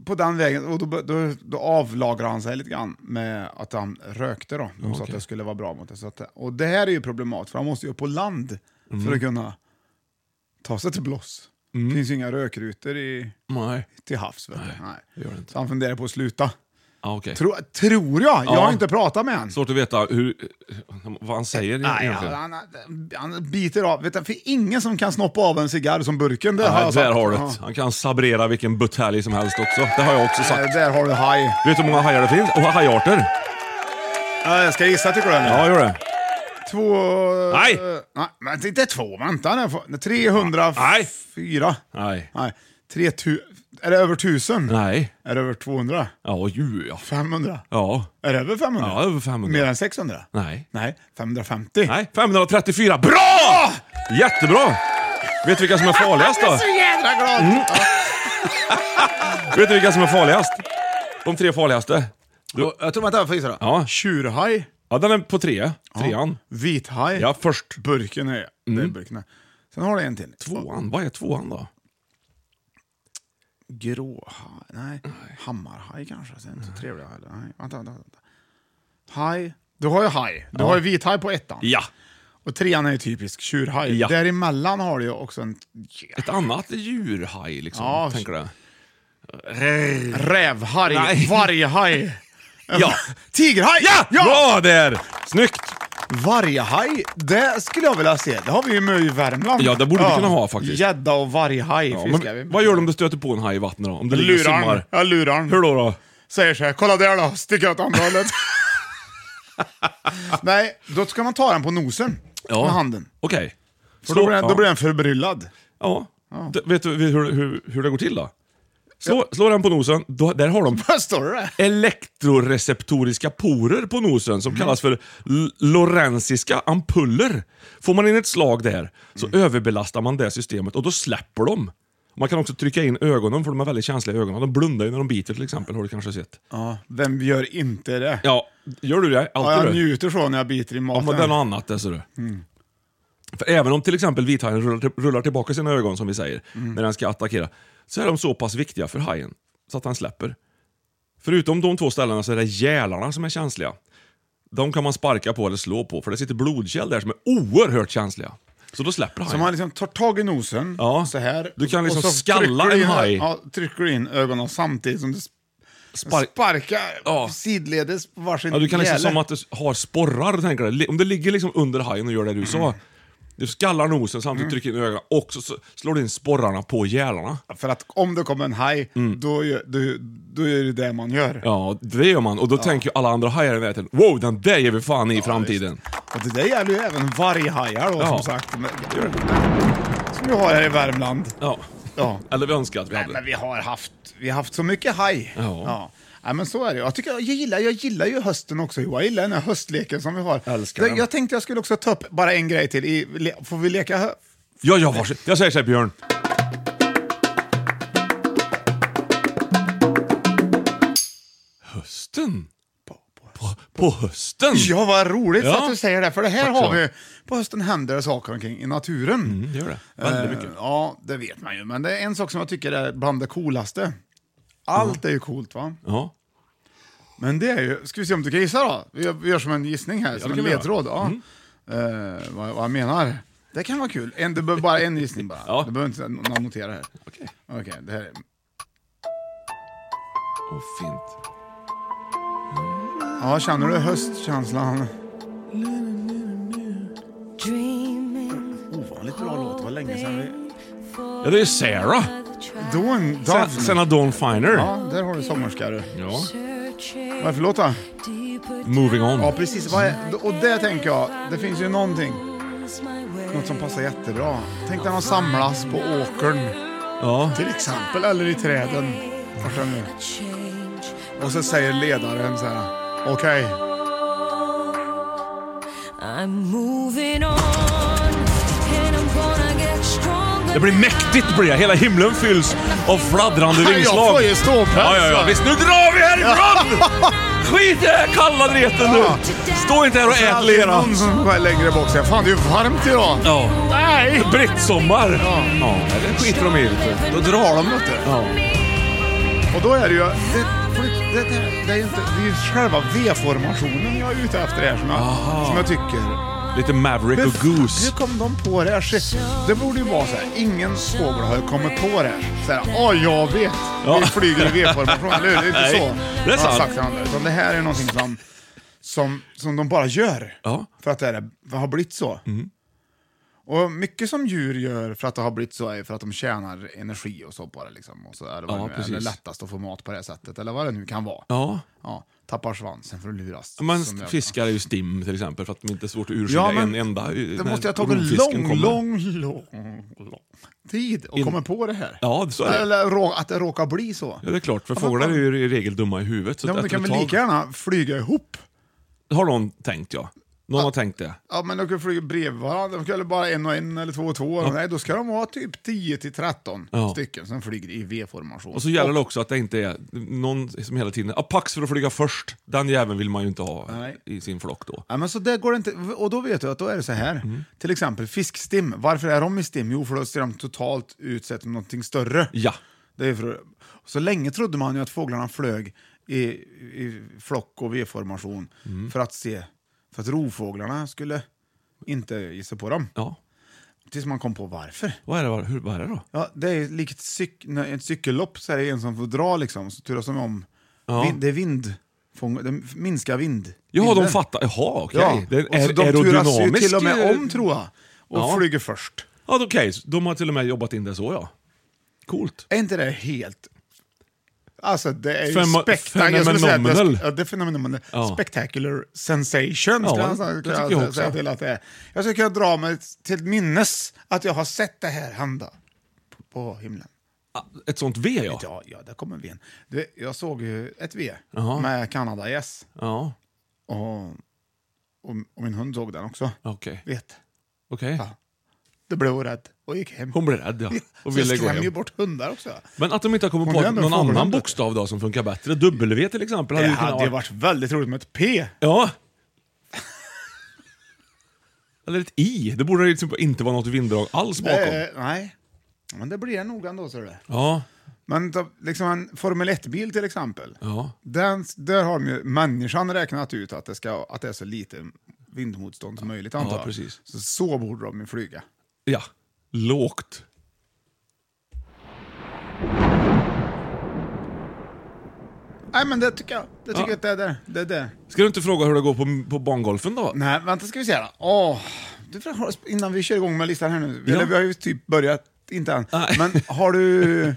Speaker 4: på den vägen, och då, då, då avlagrade han sig lite grann med att han rökte då. De sa att det skulle vara bra mot det. Så att, och det här är ju problematiskt, för han måste ju upp på land
Speaker 5: Mm.
Speaker 4: för att kunna ta sig till blås. Det finns ju inga rökrutor i,
Speaker 5: Nej.
Speaker 4: till havs. Vet du. Nej.
Speaker 5: det gör det inte.
Speaker 4: Så han funderar på att sluta.
Speaker 5: Ja, okej.
Speaker 4: Tro, tror jag! Jag
Speaker 5: Ja.
Speaker 4: har inte pratat med honom.
Speaker 5: Svårt att veta hur, vad han säger
Speaker 4: Nej,
Speaker 5: egentligen.
Speaker 4: han, han, han biter av. Vet du, för ingen som kan snoppa av en cigarr som burken. Det har
Speaker 5: Nej,
Speaker 4: jag
Speaker 5: där
Speaker 4: sagt.
Speaker 5: har du
Speaker 4: Ja.
Speaker 5: det. Han kan sabrera vilken butelj som helst också. Det har jag också
Speaker 4: Nej,
Speaker 5: sagt.
Speaker 4: Där har du haj.
Speaker 5: Vet du hur många hajar det finns? Och hajarter?
Speaker 4: Ja, Jag ska gissa tycker du? eller?
Speaker 5: Ja, gör det.
Speaker 4: Två...
Speaker 5: Nej.
Speaker 4: eh, nej, men inte två, vänta nu. får- 304.
Speaker 5: Nej.
Speaker 4: Nej.
Speaker 5: Nej.
Speaker 4: nej. 3 tu, är det över 1000?
Speaker 5: Nej.
Speaker 4: Är det över 200?
Speaker 5: Ja, ju ja.
Speaker 4: 500?
Speaker 5: Ja.
Speaker 4: Är det över 500?
Speaker 5: Ja, över 500.
Speaker 4: Mer än 600?
Speaker 5: Nej.
Speaker 4: Nej, 550.
Speaker 5: Nej, 534. Bra! Jättebra! Vet du vilka som är farligast då?
Speaker 4: jädra glad!
Speaker 5: Mm. Vet du vilka som är farligast? De tre farligaste.
Speaker 4: Och Jag tror att jag får gissa då.
Speaker 5: Ja.
Speaker 4: Tjurhaj.
Speaker 5: Ja, den är på tre. Trean.
Speaker 4: Vithaj.
Speaker 5: Ja, först. Mm.
Speaker 4: Burken är... Det är burken. här. Sen har du en till.
Speaker 5: Tvåan. Vad är tvåan då?
Speaker 4: Gråhaj? Nej. Hammarhaj kanske? Så är det inte så trevliga heller. Nej. Vänta, vänta, vänta. Haj. Du har ju haj. Du har ju vithaj på ettan.
Speaker 5: Ja.
Speaker 4: Och trean är ju typisk tjurhaj.
Speaker 5: Ja.
Speaker 4: Däremellan har du ju också en
Speaker 5: Ett annat djurhaj liksom,
Speaker 4: Ja.
Speaker 5: tänker du?
Speaker 4: rävhaj,
Speaker 5: Nej.
Speaker 4: varghaj.
Speaker 5: Ja!
Speaker 4: Tigerhaj!
Speaker 5: Ja! Bra där! Snyggt!
Speaker 4: <laughs> Varghaj, det skulle jag vilja se. Det har vi ju med i Värmland.
Speaker 5: Ja, det borde vi kunna ha faktiskt.
Speaker 4: Gädda och varghaj
Speaker 5: Ja,
Speaker 4: fiskar vi.
Speaker 5: men, vad gör du om du stöter på en haj i vattnet då? Om det ligger och
Speaker 4: Lurar
Speaker 5: simmar?
Speaker 4: Ja, lurar
Speaker 5: Hur då? då?
Speaker 4: säger så här, kolla där då, sticker åt
Speaker 5: <laughs>
Speaker 4: andra hållet. Nej, då ska man ta den på nosen
Speaker 5: Ja.
Speaker 4: med handen.
Speaker 5: Okej.
Speaker 4: För då, blir den,
Speaker 5: ja.
Speaker 4: då blir den förbryllad.
Speaker 5: Ja. D- Vet du hur, hur, hur det går till då? Slå, slå den på nosen, då, där har de
Speaker 4: Vad står det?
Speaker 5: elektroreceptoriska porer på nosen
Speaker 4: Mhm.
Speaker 5: som kallas för l- lorensiska ampuller. Får man in ett slag där så
Speaker 4: Mm.
Speaker 5: överbelastar man det systemet och då släpper de. Man kan också trycka in ögonen för de har väldigt känsliga ögon. De blundar ju när de biter till exempel, har du kanske sett.
Speaker 4: Ja, vem gör inte det?
Speaker 5: Ja, gör du det?
Speaker 4: Ja,
Speaker 5: Alltid
Speaker 4: jag
Speaker 5: du?
Speaker 4: njuter så när jag biter i
Speaker 5: Ja,
Speaker 4: maten.
Speaker 5: men det är något annat det, ser du. För även om till exempel vithajen rullar, till- rullar tillbaka sina ögon, som vi säger, när den ska attackera, så är de så pass viktiga för hajen så att han släpper. Förutom de två ställena så är det gälarna som är känsliga. De kan man sparka på eller slå på, för det sitter blodkärl där som är oerhört känsliga. Så då släpper
Speaker 4: Så
Speaker 5: hajen.
Speaker 4: man liksom tar tag i nosen,
Speaker 5: Ja.
Speaker 4: så här.
Speaker 5: Du kan
Speaker 4: och
Speaker 5: liksom
Speaker 4: så
Speaker 5: skalla
Speaker 4: trycker du
Speaker 5: en
Speaker 4: in-
Speaker 5: haj.
Speaker 4: Ja, trycker du in ögonen samtidigt som du s-
Speaker 5: Spark-
Speaker 4: Sparka
Speaker 5: Ja.
Speaker 4: sidledes på varsin
Speaker 5: Ja, du kan liksom
Speaker 4: gäle.
Speaker 5: som att du har sporrar, tänker du. Li- Om det ligger liksom under hajen och gör det du sa. Du skallar nosen samtidigt trycker in ögonen och så så slår du in sporrarna på gälarna.
Speaker 4: För att om det kommer en haj,
Speaker 5: Mm.
Speaker 4: då, gör- då, då är det det man gör.
Speaker 5: Ja, det gör man. Och då tänker ju alla andra hajar i näten, wow, den där ger vi fan i i framtiden.
Speaker 4: Och det där gäller ju även varghajar då,
Speaker 5: Ja.
Speaker 4: som sagt. Men, som vi har här i Värmland.
Speaker 5: Ja.
Speaker 4: Ja.
Speaker 5: Eller vi önskar att vi
Speaker 4: Nej,
Speaker 5: hade.
Speaker 4: men vi har haft, vi har haft så mycket haj.
Speaker 5: Ja.
Speaker 4: Nej, men så är det. Jag, tycker, jag, gillar, jag gillar ju hösten också. Johan. Jag gillar den här höstleken som vi har.
Speaker 5: Älskar
Speaker 4: Det-
Speaker 5: den.
Speaker 4: Jag tänkte jag skulle också ta upp bara en grej till. I, le, får vi leka hö- <clears throat>
Speaker 5: Ja, ja, varsågod. Jag säger så här, Björn. Hösten? På, på hösten?
Speaker 4: Ja, vad roligt
Speaker 5: Ja.
Speaker 4: att du säger det, för det här
Speaker 5: Tack
Speaker 4: har
Speaker 5: så. Mm,
Speaker 4: vi... På hösten händer det saker omkring i naturen.
Speaker 5: Det gör det. Väldigt mycket.
Speaker 4: Eh, Ja, det vet man ju. Men det är en sak som jag tycker är bland det coolaste. Allt är ju coolt, va?
Speaker 5: Ja.
Speaker 4: Men det är ju... Ska vi se om du kan gissa då? Vi gör, vi gör som en gissning här, som
Speaker 5: det
Speaker 4: en
Speaker 5: kan vi göra.
Speaker 4: ledtråd. Ja. Eh, vad, vad jag menar. Det kan vara kul. En, du behöver bara en gissning bara.
Speaker 5: Ja.
Speaker 4: Du behöver inte någon notera här.
Speaker 5: Okej.
Speaker 4: Okej, det här är...
Speaker 5: Åh, fint.
Speaker 4: Ja, känner du höstkänslan? Ovanligt bra låt, var länge sedan vi...
Speaker 5: Ja, det är Sarah. Sen,
Speaker 4: Dawn, Dawn.
Speaker 5: sen att Dawn Finer.
Speaker 4: Ja, där har du sommerska du.
Speaker 5: Ja.
Speaker 4: Vad är för låt då?
Speaker 5: Moving on.
Speaker 4: Ja, precis. Vad är, och det tänker jag, det finns ju någonting. Något som passar jättebra. Tänk när de samlas på åkern
Speaker 5: Ja.
Speaker 4: till exempel, eller i träden. Vart den nu. Och så säger ledaren så här. Okej,
Speaker 5: Det blir mäktigt blir det. Hela himlen fylls av fladdrande
Speaker 4: Nej, jag
Speaker 5: vingslag.
Speaker 4: får ju ståpäls,
Speaker 5: Ja, ja, ja.
Speaker 4: va?
Speaker 5: Visst, nu drar vi härifrån! <laughs> Skit i det här kalla dreten nu! Stå inte här och
Speaker 4: det är
Speaker 5: ät
Speaker 4: alltid
Speaker 5: lera.
Speaker 4: någon som går längre bak och säger fan det är ju varmt idag.
Speaker 5: Ja. Nej! Brittsommar! Ja. ja, det skiter de i. vet du.
Speaker 4: Då drar de vet du.
Speaker 5: Ja.
Speaker 4: Och då är det ju... Det, det, det, det är ju inte, det är ju själva V-formationen jag är ute efter här som jag, som jag tycker.
Speaker 5: Lite Maverick och
Speaker 4: Hur- Hur
Speaker 5: Goose.
Speaker 4: kom de på det här? Shit, Det borde ju vara så här. ingen fågel har ju kommit på det. Så här, ja jag vet.
Speaker 5: Ja.
Speaker 4: Vi flyger i V-formation, eller hur? Det är inte
Speaker 5: Nej,
Speaker 4: så.
Speaker 5: det är
Speaker 4: man har
Speaker 5: sant.
Speaker 4: Sagt till andra. Utan det här är någonting som, som, som de bara gör.
Speaker 5: Ja. Mm.
Speaker 4: För att det, är, det har blivit så. Och mycket som djur gör för att det har blivit så är för att de tjänar energi och så på det. Liksom. Och så är det, vad
Speaker 5: Ja,
Speaker 4: det nu är.
Speaker 5: precis.
Speaker 4: eller lättast att få mat på det här sättet, eller vad det nu kan vara.
Speaker 5: Ja.
Speaker 4: Ja, tappar svansen för att luras.
Speaker 5: Man
Speaker 4: Som jag-
Speaker 5: fiskar ju stim till exempel för att det inte är svårt att urskilja en enda. eh, när
Speaker 4: Det måste jag ha tagit
Speaker 5: rovfisken
Speaker 4: lång,
Speaker 5: kommer. Mm.
Speaker 4: lång, lång, lång tid att
Speaker 5: In-
Speaker 4: komma på det här.
Speaker 5: Ja, så är det.
Speaker 4: Eller rå- att det råkar bli så.
Speaker 5: Ja, det är klart. För fåglar är ju i regel dumma i huvudet. Så
Speaker 4: Ja, men
Speaker 5: att
Speaker 4: du
Speaker 5: ett
Speaker 4: kan väl
Speaker 5: tag-
Speaker 4: lika gärna flyga ihop?
Speaker 5: har någon tänkt ja. Någon har tänkt det.
Speaker 4: Ja, men de kan flyga bredvid varandra, de kan väl bara en och en eller två och två. Nej, då ska de vara typ 10 till 13
Speaker 5: Ja.
Speaker 4: stycken som flyger i V-formation.
Speaker 5: Och så gäller det också att det inte är någon som hela tiden... Ah, pax för att flyga först. Den jäveln vill man ju inte ha
Speaker 4: Nej.
Speaker 5: i sin flock då.
Speaker 4: Ja, men så där går det inte. Och då vet du att då är det så här.
Speaker 5: Mm.
Speaker 4: Till exempel fiskstim. Varför är de i stim? Jo, för då ser de totalt ut som någonting större.
Speaker 5: Ja.
Speaker 4: Det är för, så länge trodde man ju att fåglarna flög i, i flock och V-formation
Speaker 5: Mm.
Speaker 4: för att se, för att rovfåglarna skulle inte ge sig på dem.
Speaker 5: Ja.
Speaker 4: Tills man kom på varför.
Speaker 5: Vad är det, vad, hur, vad är det då?
Speaker 4: Ja, det är likt cyk, när ett cykellopp, så är det en som får dra liksom, så turas de om.
Speaker 5: Ja.
Speaker 4: Vind, det är vind, fång, det minskar vind.
Speaker 5: Jaha, de
Speaker 4: vinden.
Speaker 5: fattar. Jaha, okej.
Speaker 4: Ja,
Speaker 5: Det
Speaker 4: och så
Speaker 5: är
Speaker 4: de turas ju
Speaker 5: aerodynamisk...
Speaker 4: till och med om tror jag. Och
Speaker 5: Ja.
Speaker 4: flyger först.
Speaker 5: Ja, okej. så De har till och med jobbat in det så ja. Coolt.
Speaker 4: Är inte det helt... Alltså det är ju
Speaker 5: Fenoma-
Speaker 4: spektakulärt. Jag skulle säga att det-
Speaker 5: phenomenal.
Speaker 4: Ja, det är phenomenal.
Speaker 5: Ja.
Speaker 4: Spectacular sensation
Speaker 5: Ja,
Speaker 4: skulle jag,
Speaker 5: det
Speaker 4: säga-
Speaker 5: tycker
Speaker 4: jag,
Speaker 5: jag
Speaker 4: jag
Speaker 5: också.
Speaker 4: säga till att det är. Jag skulle kunna dra mig till minnes att jag har sett det här hända på- på himlen.
Speaker 5: Ah, Ett sånt V ja.
Speaker 4: Ja, ja, där kommer vi in. Du, jag såg ju ett V
Speaker 5: Jaha.
Speaker 4: med Kanadagäss
Speaker 5: Ja,
Speaker 4: och, och, och min hund såg den också.
Speaker 5: okej.
Speaker 4: Vet.
Speaker 5: Okej.
Speaker 4: Ja. Då blev hon rädd och gick hem.
Speaker 5: Hon blev
Speaker 4: <laughs>
Speaker 5: rädd ja. Och
Speaker 4: Så jag
Speaker 5: ville gå
Speaker 4: skrämmer ju
Speaker 5: hem.
Speaker 4: bort hundar också.
Speaker 5: Men att de inte har kommit
Speaker 4: Hon är
Speaker 5: på
Speaker 4: ändå
Speaker 5: någon
Speaker 4: en fågel,
Speaker 5: annan
Speaker 4: inte?
Speaker 5: bokstav då som funkar bättre. W till exempel
Speaker 4: Det
Speaker 5: hade ju kunnat
Speaker 4: hade ju varit väldigt roligt med ett P.
Speaker 5: Ja. Eller ett I. Det borde liksom inte vara något vinddrag alls bakom.
Speaker 4: Eh, nej, men det blir det nog ändå. Så det.
Speaker 5: Ja,
Speaker 4: Men ta, liksom en Formel 1-bil till exempel.
Speaker 5: ja.
Speaker 4: Den, där har de ju människan räknat ut att det, ska, att det är så lite vindmotstånd som möjligt antar jag.
Speaker 5: precis.
Speaker 4: Så, så borde de ju flyga.
Speaker 5: Ja. Lågt.
Speaker 4: Nej men det tycker jag. Det tycker jag att det är där. Det är det.
Speaker 5: Ska du inte fråga hur det går på, på bangolfen då?
Speaker 4: Nej, vänta ska vi se då. Åh, du får ha- innan vi kör igång med listan här nu.
Speaker 5: Ja.
Speaker 4: Eller vi har ju typ börjat, inte än.
Speaker 5: Nej.
Speaker 4: Men
Speaker 5: <laughs>
Speaker 4: har du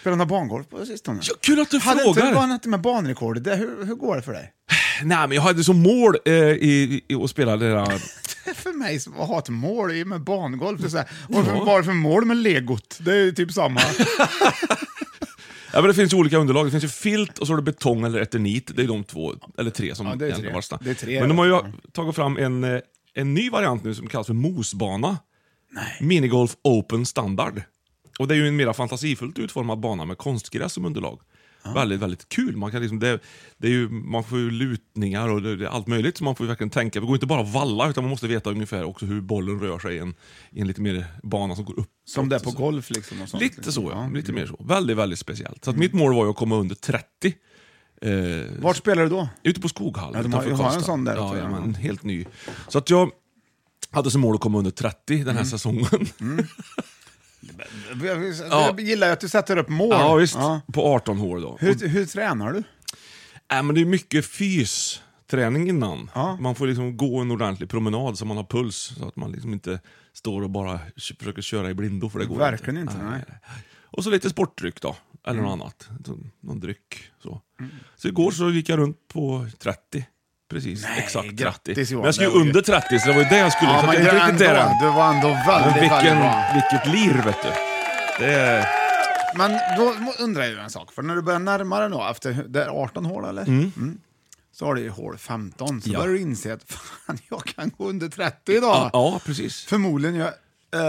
Speaker 4: spelat någon bangolf på sistone?
Speaker 5: Ja, kul att du
Speaker 4: Hade inte
Speaker 5: frågar.
Speaker 4: du banat med banrekord? Det, hur, hur går det för dig?
Speaker 5: Nej, men jag hade som mål eh, i, i, att spela det där.
Speaker 4: Det är för mig som att ha ett mål i med bangolf. Det är så här, varför, varför mål med legot? Det är ju
Speaker 5: <laughs>
Speaker 4: typ samma.
Speaker 5: Ja, men det finns ju olika underlag. Det finns ju filt och så har du betong eller eternit. Det är de två, eller tre som
Speaker 4: Ja, det är
Speaker 5: egentligen
Speaker 4: tre.
Speaker 5: var det snack.
Speaker 4: Det är tre.
Speaker 5: Men de har ju tagit fram en, eh, en ny variant nu som kallas för mosbana. Minigolf Open Standard. Och det är ju en mera fantasifullt utformad bana med konstgräs som underlag. Väldigt, väldigt kul. Man, kan liksom, det, det är ju, man får ju lutningar och det, det, är allt möjligt, så man får ju verkligen tänka. Det går inte bara att valla, utan man måste veta ungefär också hur bollen rör sig i en, i en lite mer bana som går upp.
Speaker 4: Som det är på golf liksom. Och sånt,
Speaker 5: Lite
Speaker 4: liksom.
Speaker 5: så, ja.
Speaker 4: Ja.
Speaker 5: Lite mer så. Väldigt, väldigt speciellt. Så att mitt mål var ju att komma under 30. Eh,
Speaker 4: Vart spelar du då?
Speaker 5: ute på Skoghallen
Speaker 4: Ja, de har-
Speaker 5: utanför
Speaker 4: de har en
Speaker 5: Karlstad.
Speaker 4: sån där
Speaker 5: ja,
Speaker 4: också,
Speaker 5: ja,
Speaker 4: ja.
Speaker 5: men, en helt ny. Så att jag hade som mål att komma under 30 den här
Speaker 4: Mm.
Speaker 5: säsongen.
Speaker 4: Jag, jag
Speaker 5: Ja.
Speaker 4: gillar ju att du sätter upp mål.
Speaker 5: ja, visst.
Speaker 4: Ja.
Speaker 5: På 18 hål då. Och,
Speaker 4: Hur, hur tränar du?
Speaker 5: äh, men det är mycket fys träning innan.
Speaker 4: Ja.
Speaker 5: Man får liksom gå en ordentlig promenad så man har puls. Så att man liksom inte står och bara k- försöker köra i blindo. För det går
Speaker 4: Verkligen inte, nej.
Speaker 5: Och så lite sportdryck då, eller något
Speaker 4: Mm.
Speaker 5: annat. Så- Någon dryck. Så. så igår så gick jag runt på 30. Precis, exakt 30.
Speaker 4: grattis, Johan.
Speaker 5: Men jag skulle
Speaker 4: Det
Speaker 5: ju
Speaker 4: var ju-
Speaker 5: under 30, så det var ju det jag skulle. så att jag är inte riktigt där än.
Speaker 4: du var ändå
Speaker 5: Men
Speaker 4: väldigt, väldigt
Speaker 5: vilken,
Speaker 4: bra.
Speaker 5: vilket lir vet du. Det är...
Speaker 4: Men då må- undrar jag ju en sak, för när du börjar närma dig då, efter det är 18 hål eller? Mm. Så har du ju hål 15, så
Speaker 5: Ja.
Speaker 4: börjar du inse att <laughs> fan, jag kan gå under 30 idag.
Speaker 5: Ja, ja, precis.
Speaker 4: Förmodligen gör,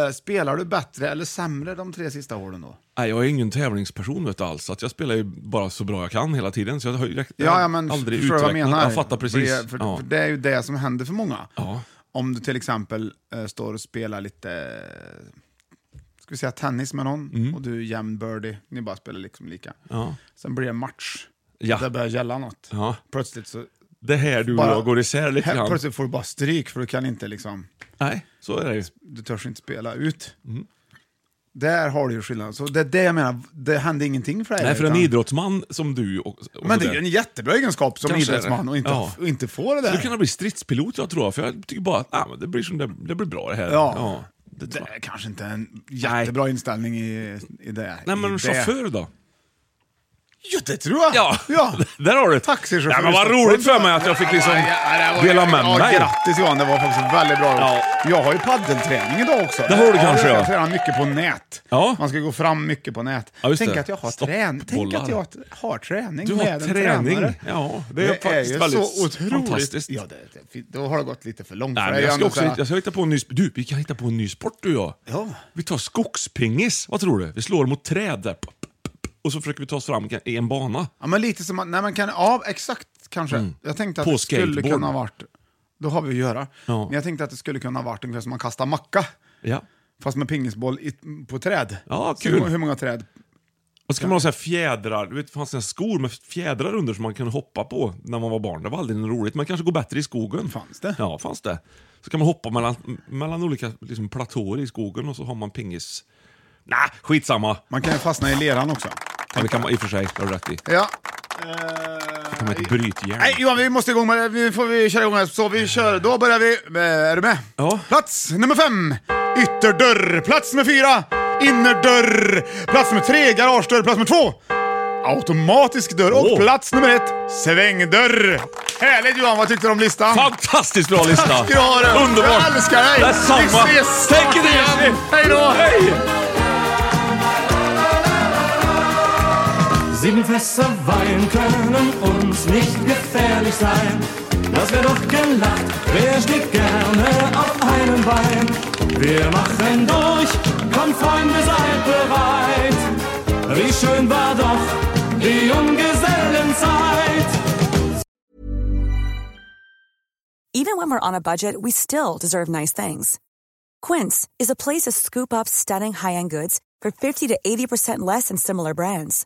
Speaker 4: eh, spelar du bättre eller sämre de tre sista hålen då?
Speaker 5: Nej, jag är ingen tävlingsperson vet du, alls. Att jag spelar ju bara så bra jag kan hela tiden. Så jag har ju jag har
Speaker 4: Ja, ja men
Speaker 5: aldrig
Speaker 4: förstår du vad jag
Speaker 5: utvecklat-
Speaker 4: menar?
Speaker 5: Jag fattar precis.
Speaker 4: För, det- för,
Speaker 5: ja.
Speaker 4: för det är ju det som händer för många.
Speaker 5: Ja.
Speaker 4: Om du till exempel eh, står och spelar lite, eh, ska vi säga tennis med någon, och du är jämn birdie, ni bara spelar liksom lika.
Speaker 5: Mm. Ja.
Speaker 4: Sen blir det match,
Speaker 5: Ja.
Speaker 4: det börjar gälla något.
Speaker 5: Ja.
Speaker 4: Plötsligt så
Speaker 5: Det här du och
Speaker 4: bara-
Speaker 5: jag går isär lite
Speaker 4: här-
Speaker 5: grann.
Speaker 4: Plötsligt får du bara stryk för du kan inte liksom,
Speaker 5: Nej, så är det ju.
Speaker 4: du törs inte spela ut.
Speaker 5: Mm.
Speaker 4: Där har du ju skillnaden. Så det är det jag menar, det hände ingenting för dig.
Speaker 5: Nej, för en
Speaker 4: utan-
Speaker 5: idrottsman som du och, och
Speaker 4: Men det är
Speaker 5: sådär.
Speaker 4: ju en jättebra egenskap som
Speaker 5: Kanske är det.
Speaker 4: idrottsman och inte,
Speaker 5: Ja.
Speaker 4: och inte få det
Speaker 5: Så
Speaker 4: där.
Speaker 5: Du kan bli stridspilot jag tror, för jag tycker bara att nej, men det, blir som det, det blir bra det här.
Speaker 4: Ja.
Speaker 5: det
Speaker 4: Det
Speaker 5: tror jag.
Speaker 4: är kanske inte en jättebra inställning i, i det.
Speaker 5: Nej
Speaker 4: i
Speaker 5: men
Speaker 4: det.
Speaker 5: chaufför då?
Speaker 4: Jo, det tror jag!
Speaker 5: Ja,
Speaker 4: ja.
Speaker 5: <laughs> där har du det.
Speaker 4: Taxichaufför
Speaker 5: Nej, men
Speaker 4: i
Speaker 5: vad
Speaker 4: Stockholm.
Speaker 5: roligt för mig att jag fick liksom
Speaker 4: Ja, ja, det var-
Speaker 5: dela med
Speaker 4: ja,
Speaker 5: mig.
Speaker 4: Grattis Johan, det var faktiskt väldigt bra
Speaker 5: Ja.
Speaker 4: Jag har ju paddelträning idag också.
Speaker 5: Det har du kanske,
Speaker 4: Jag
Speaker 5: ja.
Speaker 4: tränar mycket på nät.
Speaker 5: Ja.
Speaker 4: Man ska gå fram mycket på nät.
Speaker 5: Ja, just
Speaker 4: Tänk,
Speaker 5: det.
Speaker 4: att jag har
Speaker 5: Stoppbollar.
Speaker 4: trän- Tänk att jag har träning
Speaker 5: Du har
Speaker 4: med en
Speaker 5: träning.
Speaker 4: tränare.
Speaker 5: Ja, det är faktiskt
Speaker 4: ju
Speaker 5: väldigt
Speaker 4: så otroligt.
Speaker 5: fantastiskt.
Speaker 4: Ja, det, det, fin- då har det gått lite för långt.
Speaker 5: Nej,
Speaker 4: för
Speaker 5: men
Speaker 4: det är
Speaker 5: jag, ska
Speaker 4: ändå så
Speaker 5: också,
Speaker 4: här-
Speaker 5: jag ska hitta på en ny... sp- Du, vi kan hitta på en ny sport du och jag.
Speaker 4: Ja.
Speaker 5: Vi tar skogspingis. Vad tror du? Vi slår mot träd där. P- p- p- Och så försöker vi ta oss fram i en bana.
Speaker 4: Ja, men lite som att, nej men kan, ja exakt kanske. Jag tänkte att
Speaker 5: Mm. På
Speaker 4: det skulle
Speaker 5: skateboard.
Speaker 4: kunna ha varit, då har vi att göra.
Speaker 5: Ja.
Speaker 4: Men jag tänkte att det skulle kunna ha varit ungefär som man kastar macka,
Speaker 5: Ja.
Speaker 4: fast med pingisboll i, på träd.
Speaker 5: Ja,
Speaker 4: Så
Speaker 5: kul.
Speaker 4: Hur, många- hur många träd?
Speaker 5: Och så kan man ha så här fjädrar. Du vet, det fanns såna här skor med fjädrar under som man kunde hoppa på när man var barn. Det var aldrig något roligt. Man kanske går bättre i skogen.
Speaker 4: Fanns det?
Speaker 5: Ja, fanns det. Så kan man hoppa mellan, mellan olika liksom, platåer i skogen och så har man pingis... Nej, skitsamma.
Speaker 4: Man kan ju fastna i leran också.
Speaker 5: Ja, det kan man i och för sig. Det har du rätt i.
Speaker 4: Ja.
Speaker 5: Ta med ett
Speaker 4: Eh,
Speaker 5: brytjärn.
Speaker 4: nej Johan, vi måste igång med det. Nu får vi köra igång här. Så vi kör, då börjar vi. Eh, Är du med?
Speaker 5: Ja.
Speaker 4: Plats nummer fem, ytterdörr. Plats nummer fyra, innerdörr. Plats nummer tre, garagedörr. Plats nummer två, automatisk dörr. Och
Speaker 5: Åh.
Speaker 4: plats nummer ett, svängdörr. Härligt Johan, vad tyckte du om listan?
Speaker 5: Fantastiskt bra lista!
Speaker 4: Tack ska du ha, du.
Speaker 5: Underbart!
Speaker 4: Jag älskar dig!
Speaker 5: Detsamma!
Speaker 4: Vi ses snart
Speaker 5: Tänk er det!
Speaker 4: igen. Hej då.
Speaker 5: Hej!
Speaker 9: Sieben Fässer Wein können uns nicht gefährlich sein. Das wär doch gelacht, wer steht gerne auf einem Bein? Wir machen durch, kommt Freunde, seid bereit. Wie schön war doch die Junggesellenzeit.
Speaker 10: Even when we're on a budget, we still deserve nice things. Quince is a place to scoop up stunning high-end goods for 50 to 80% less than similar brands.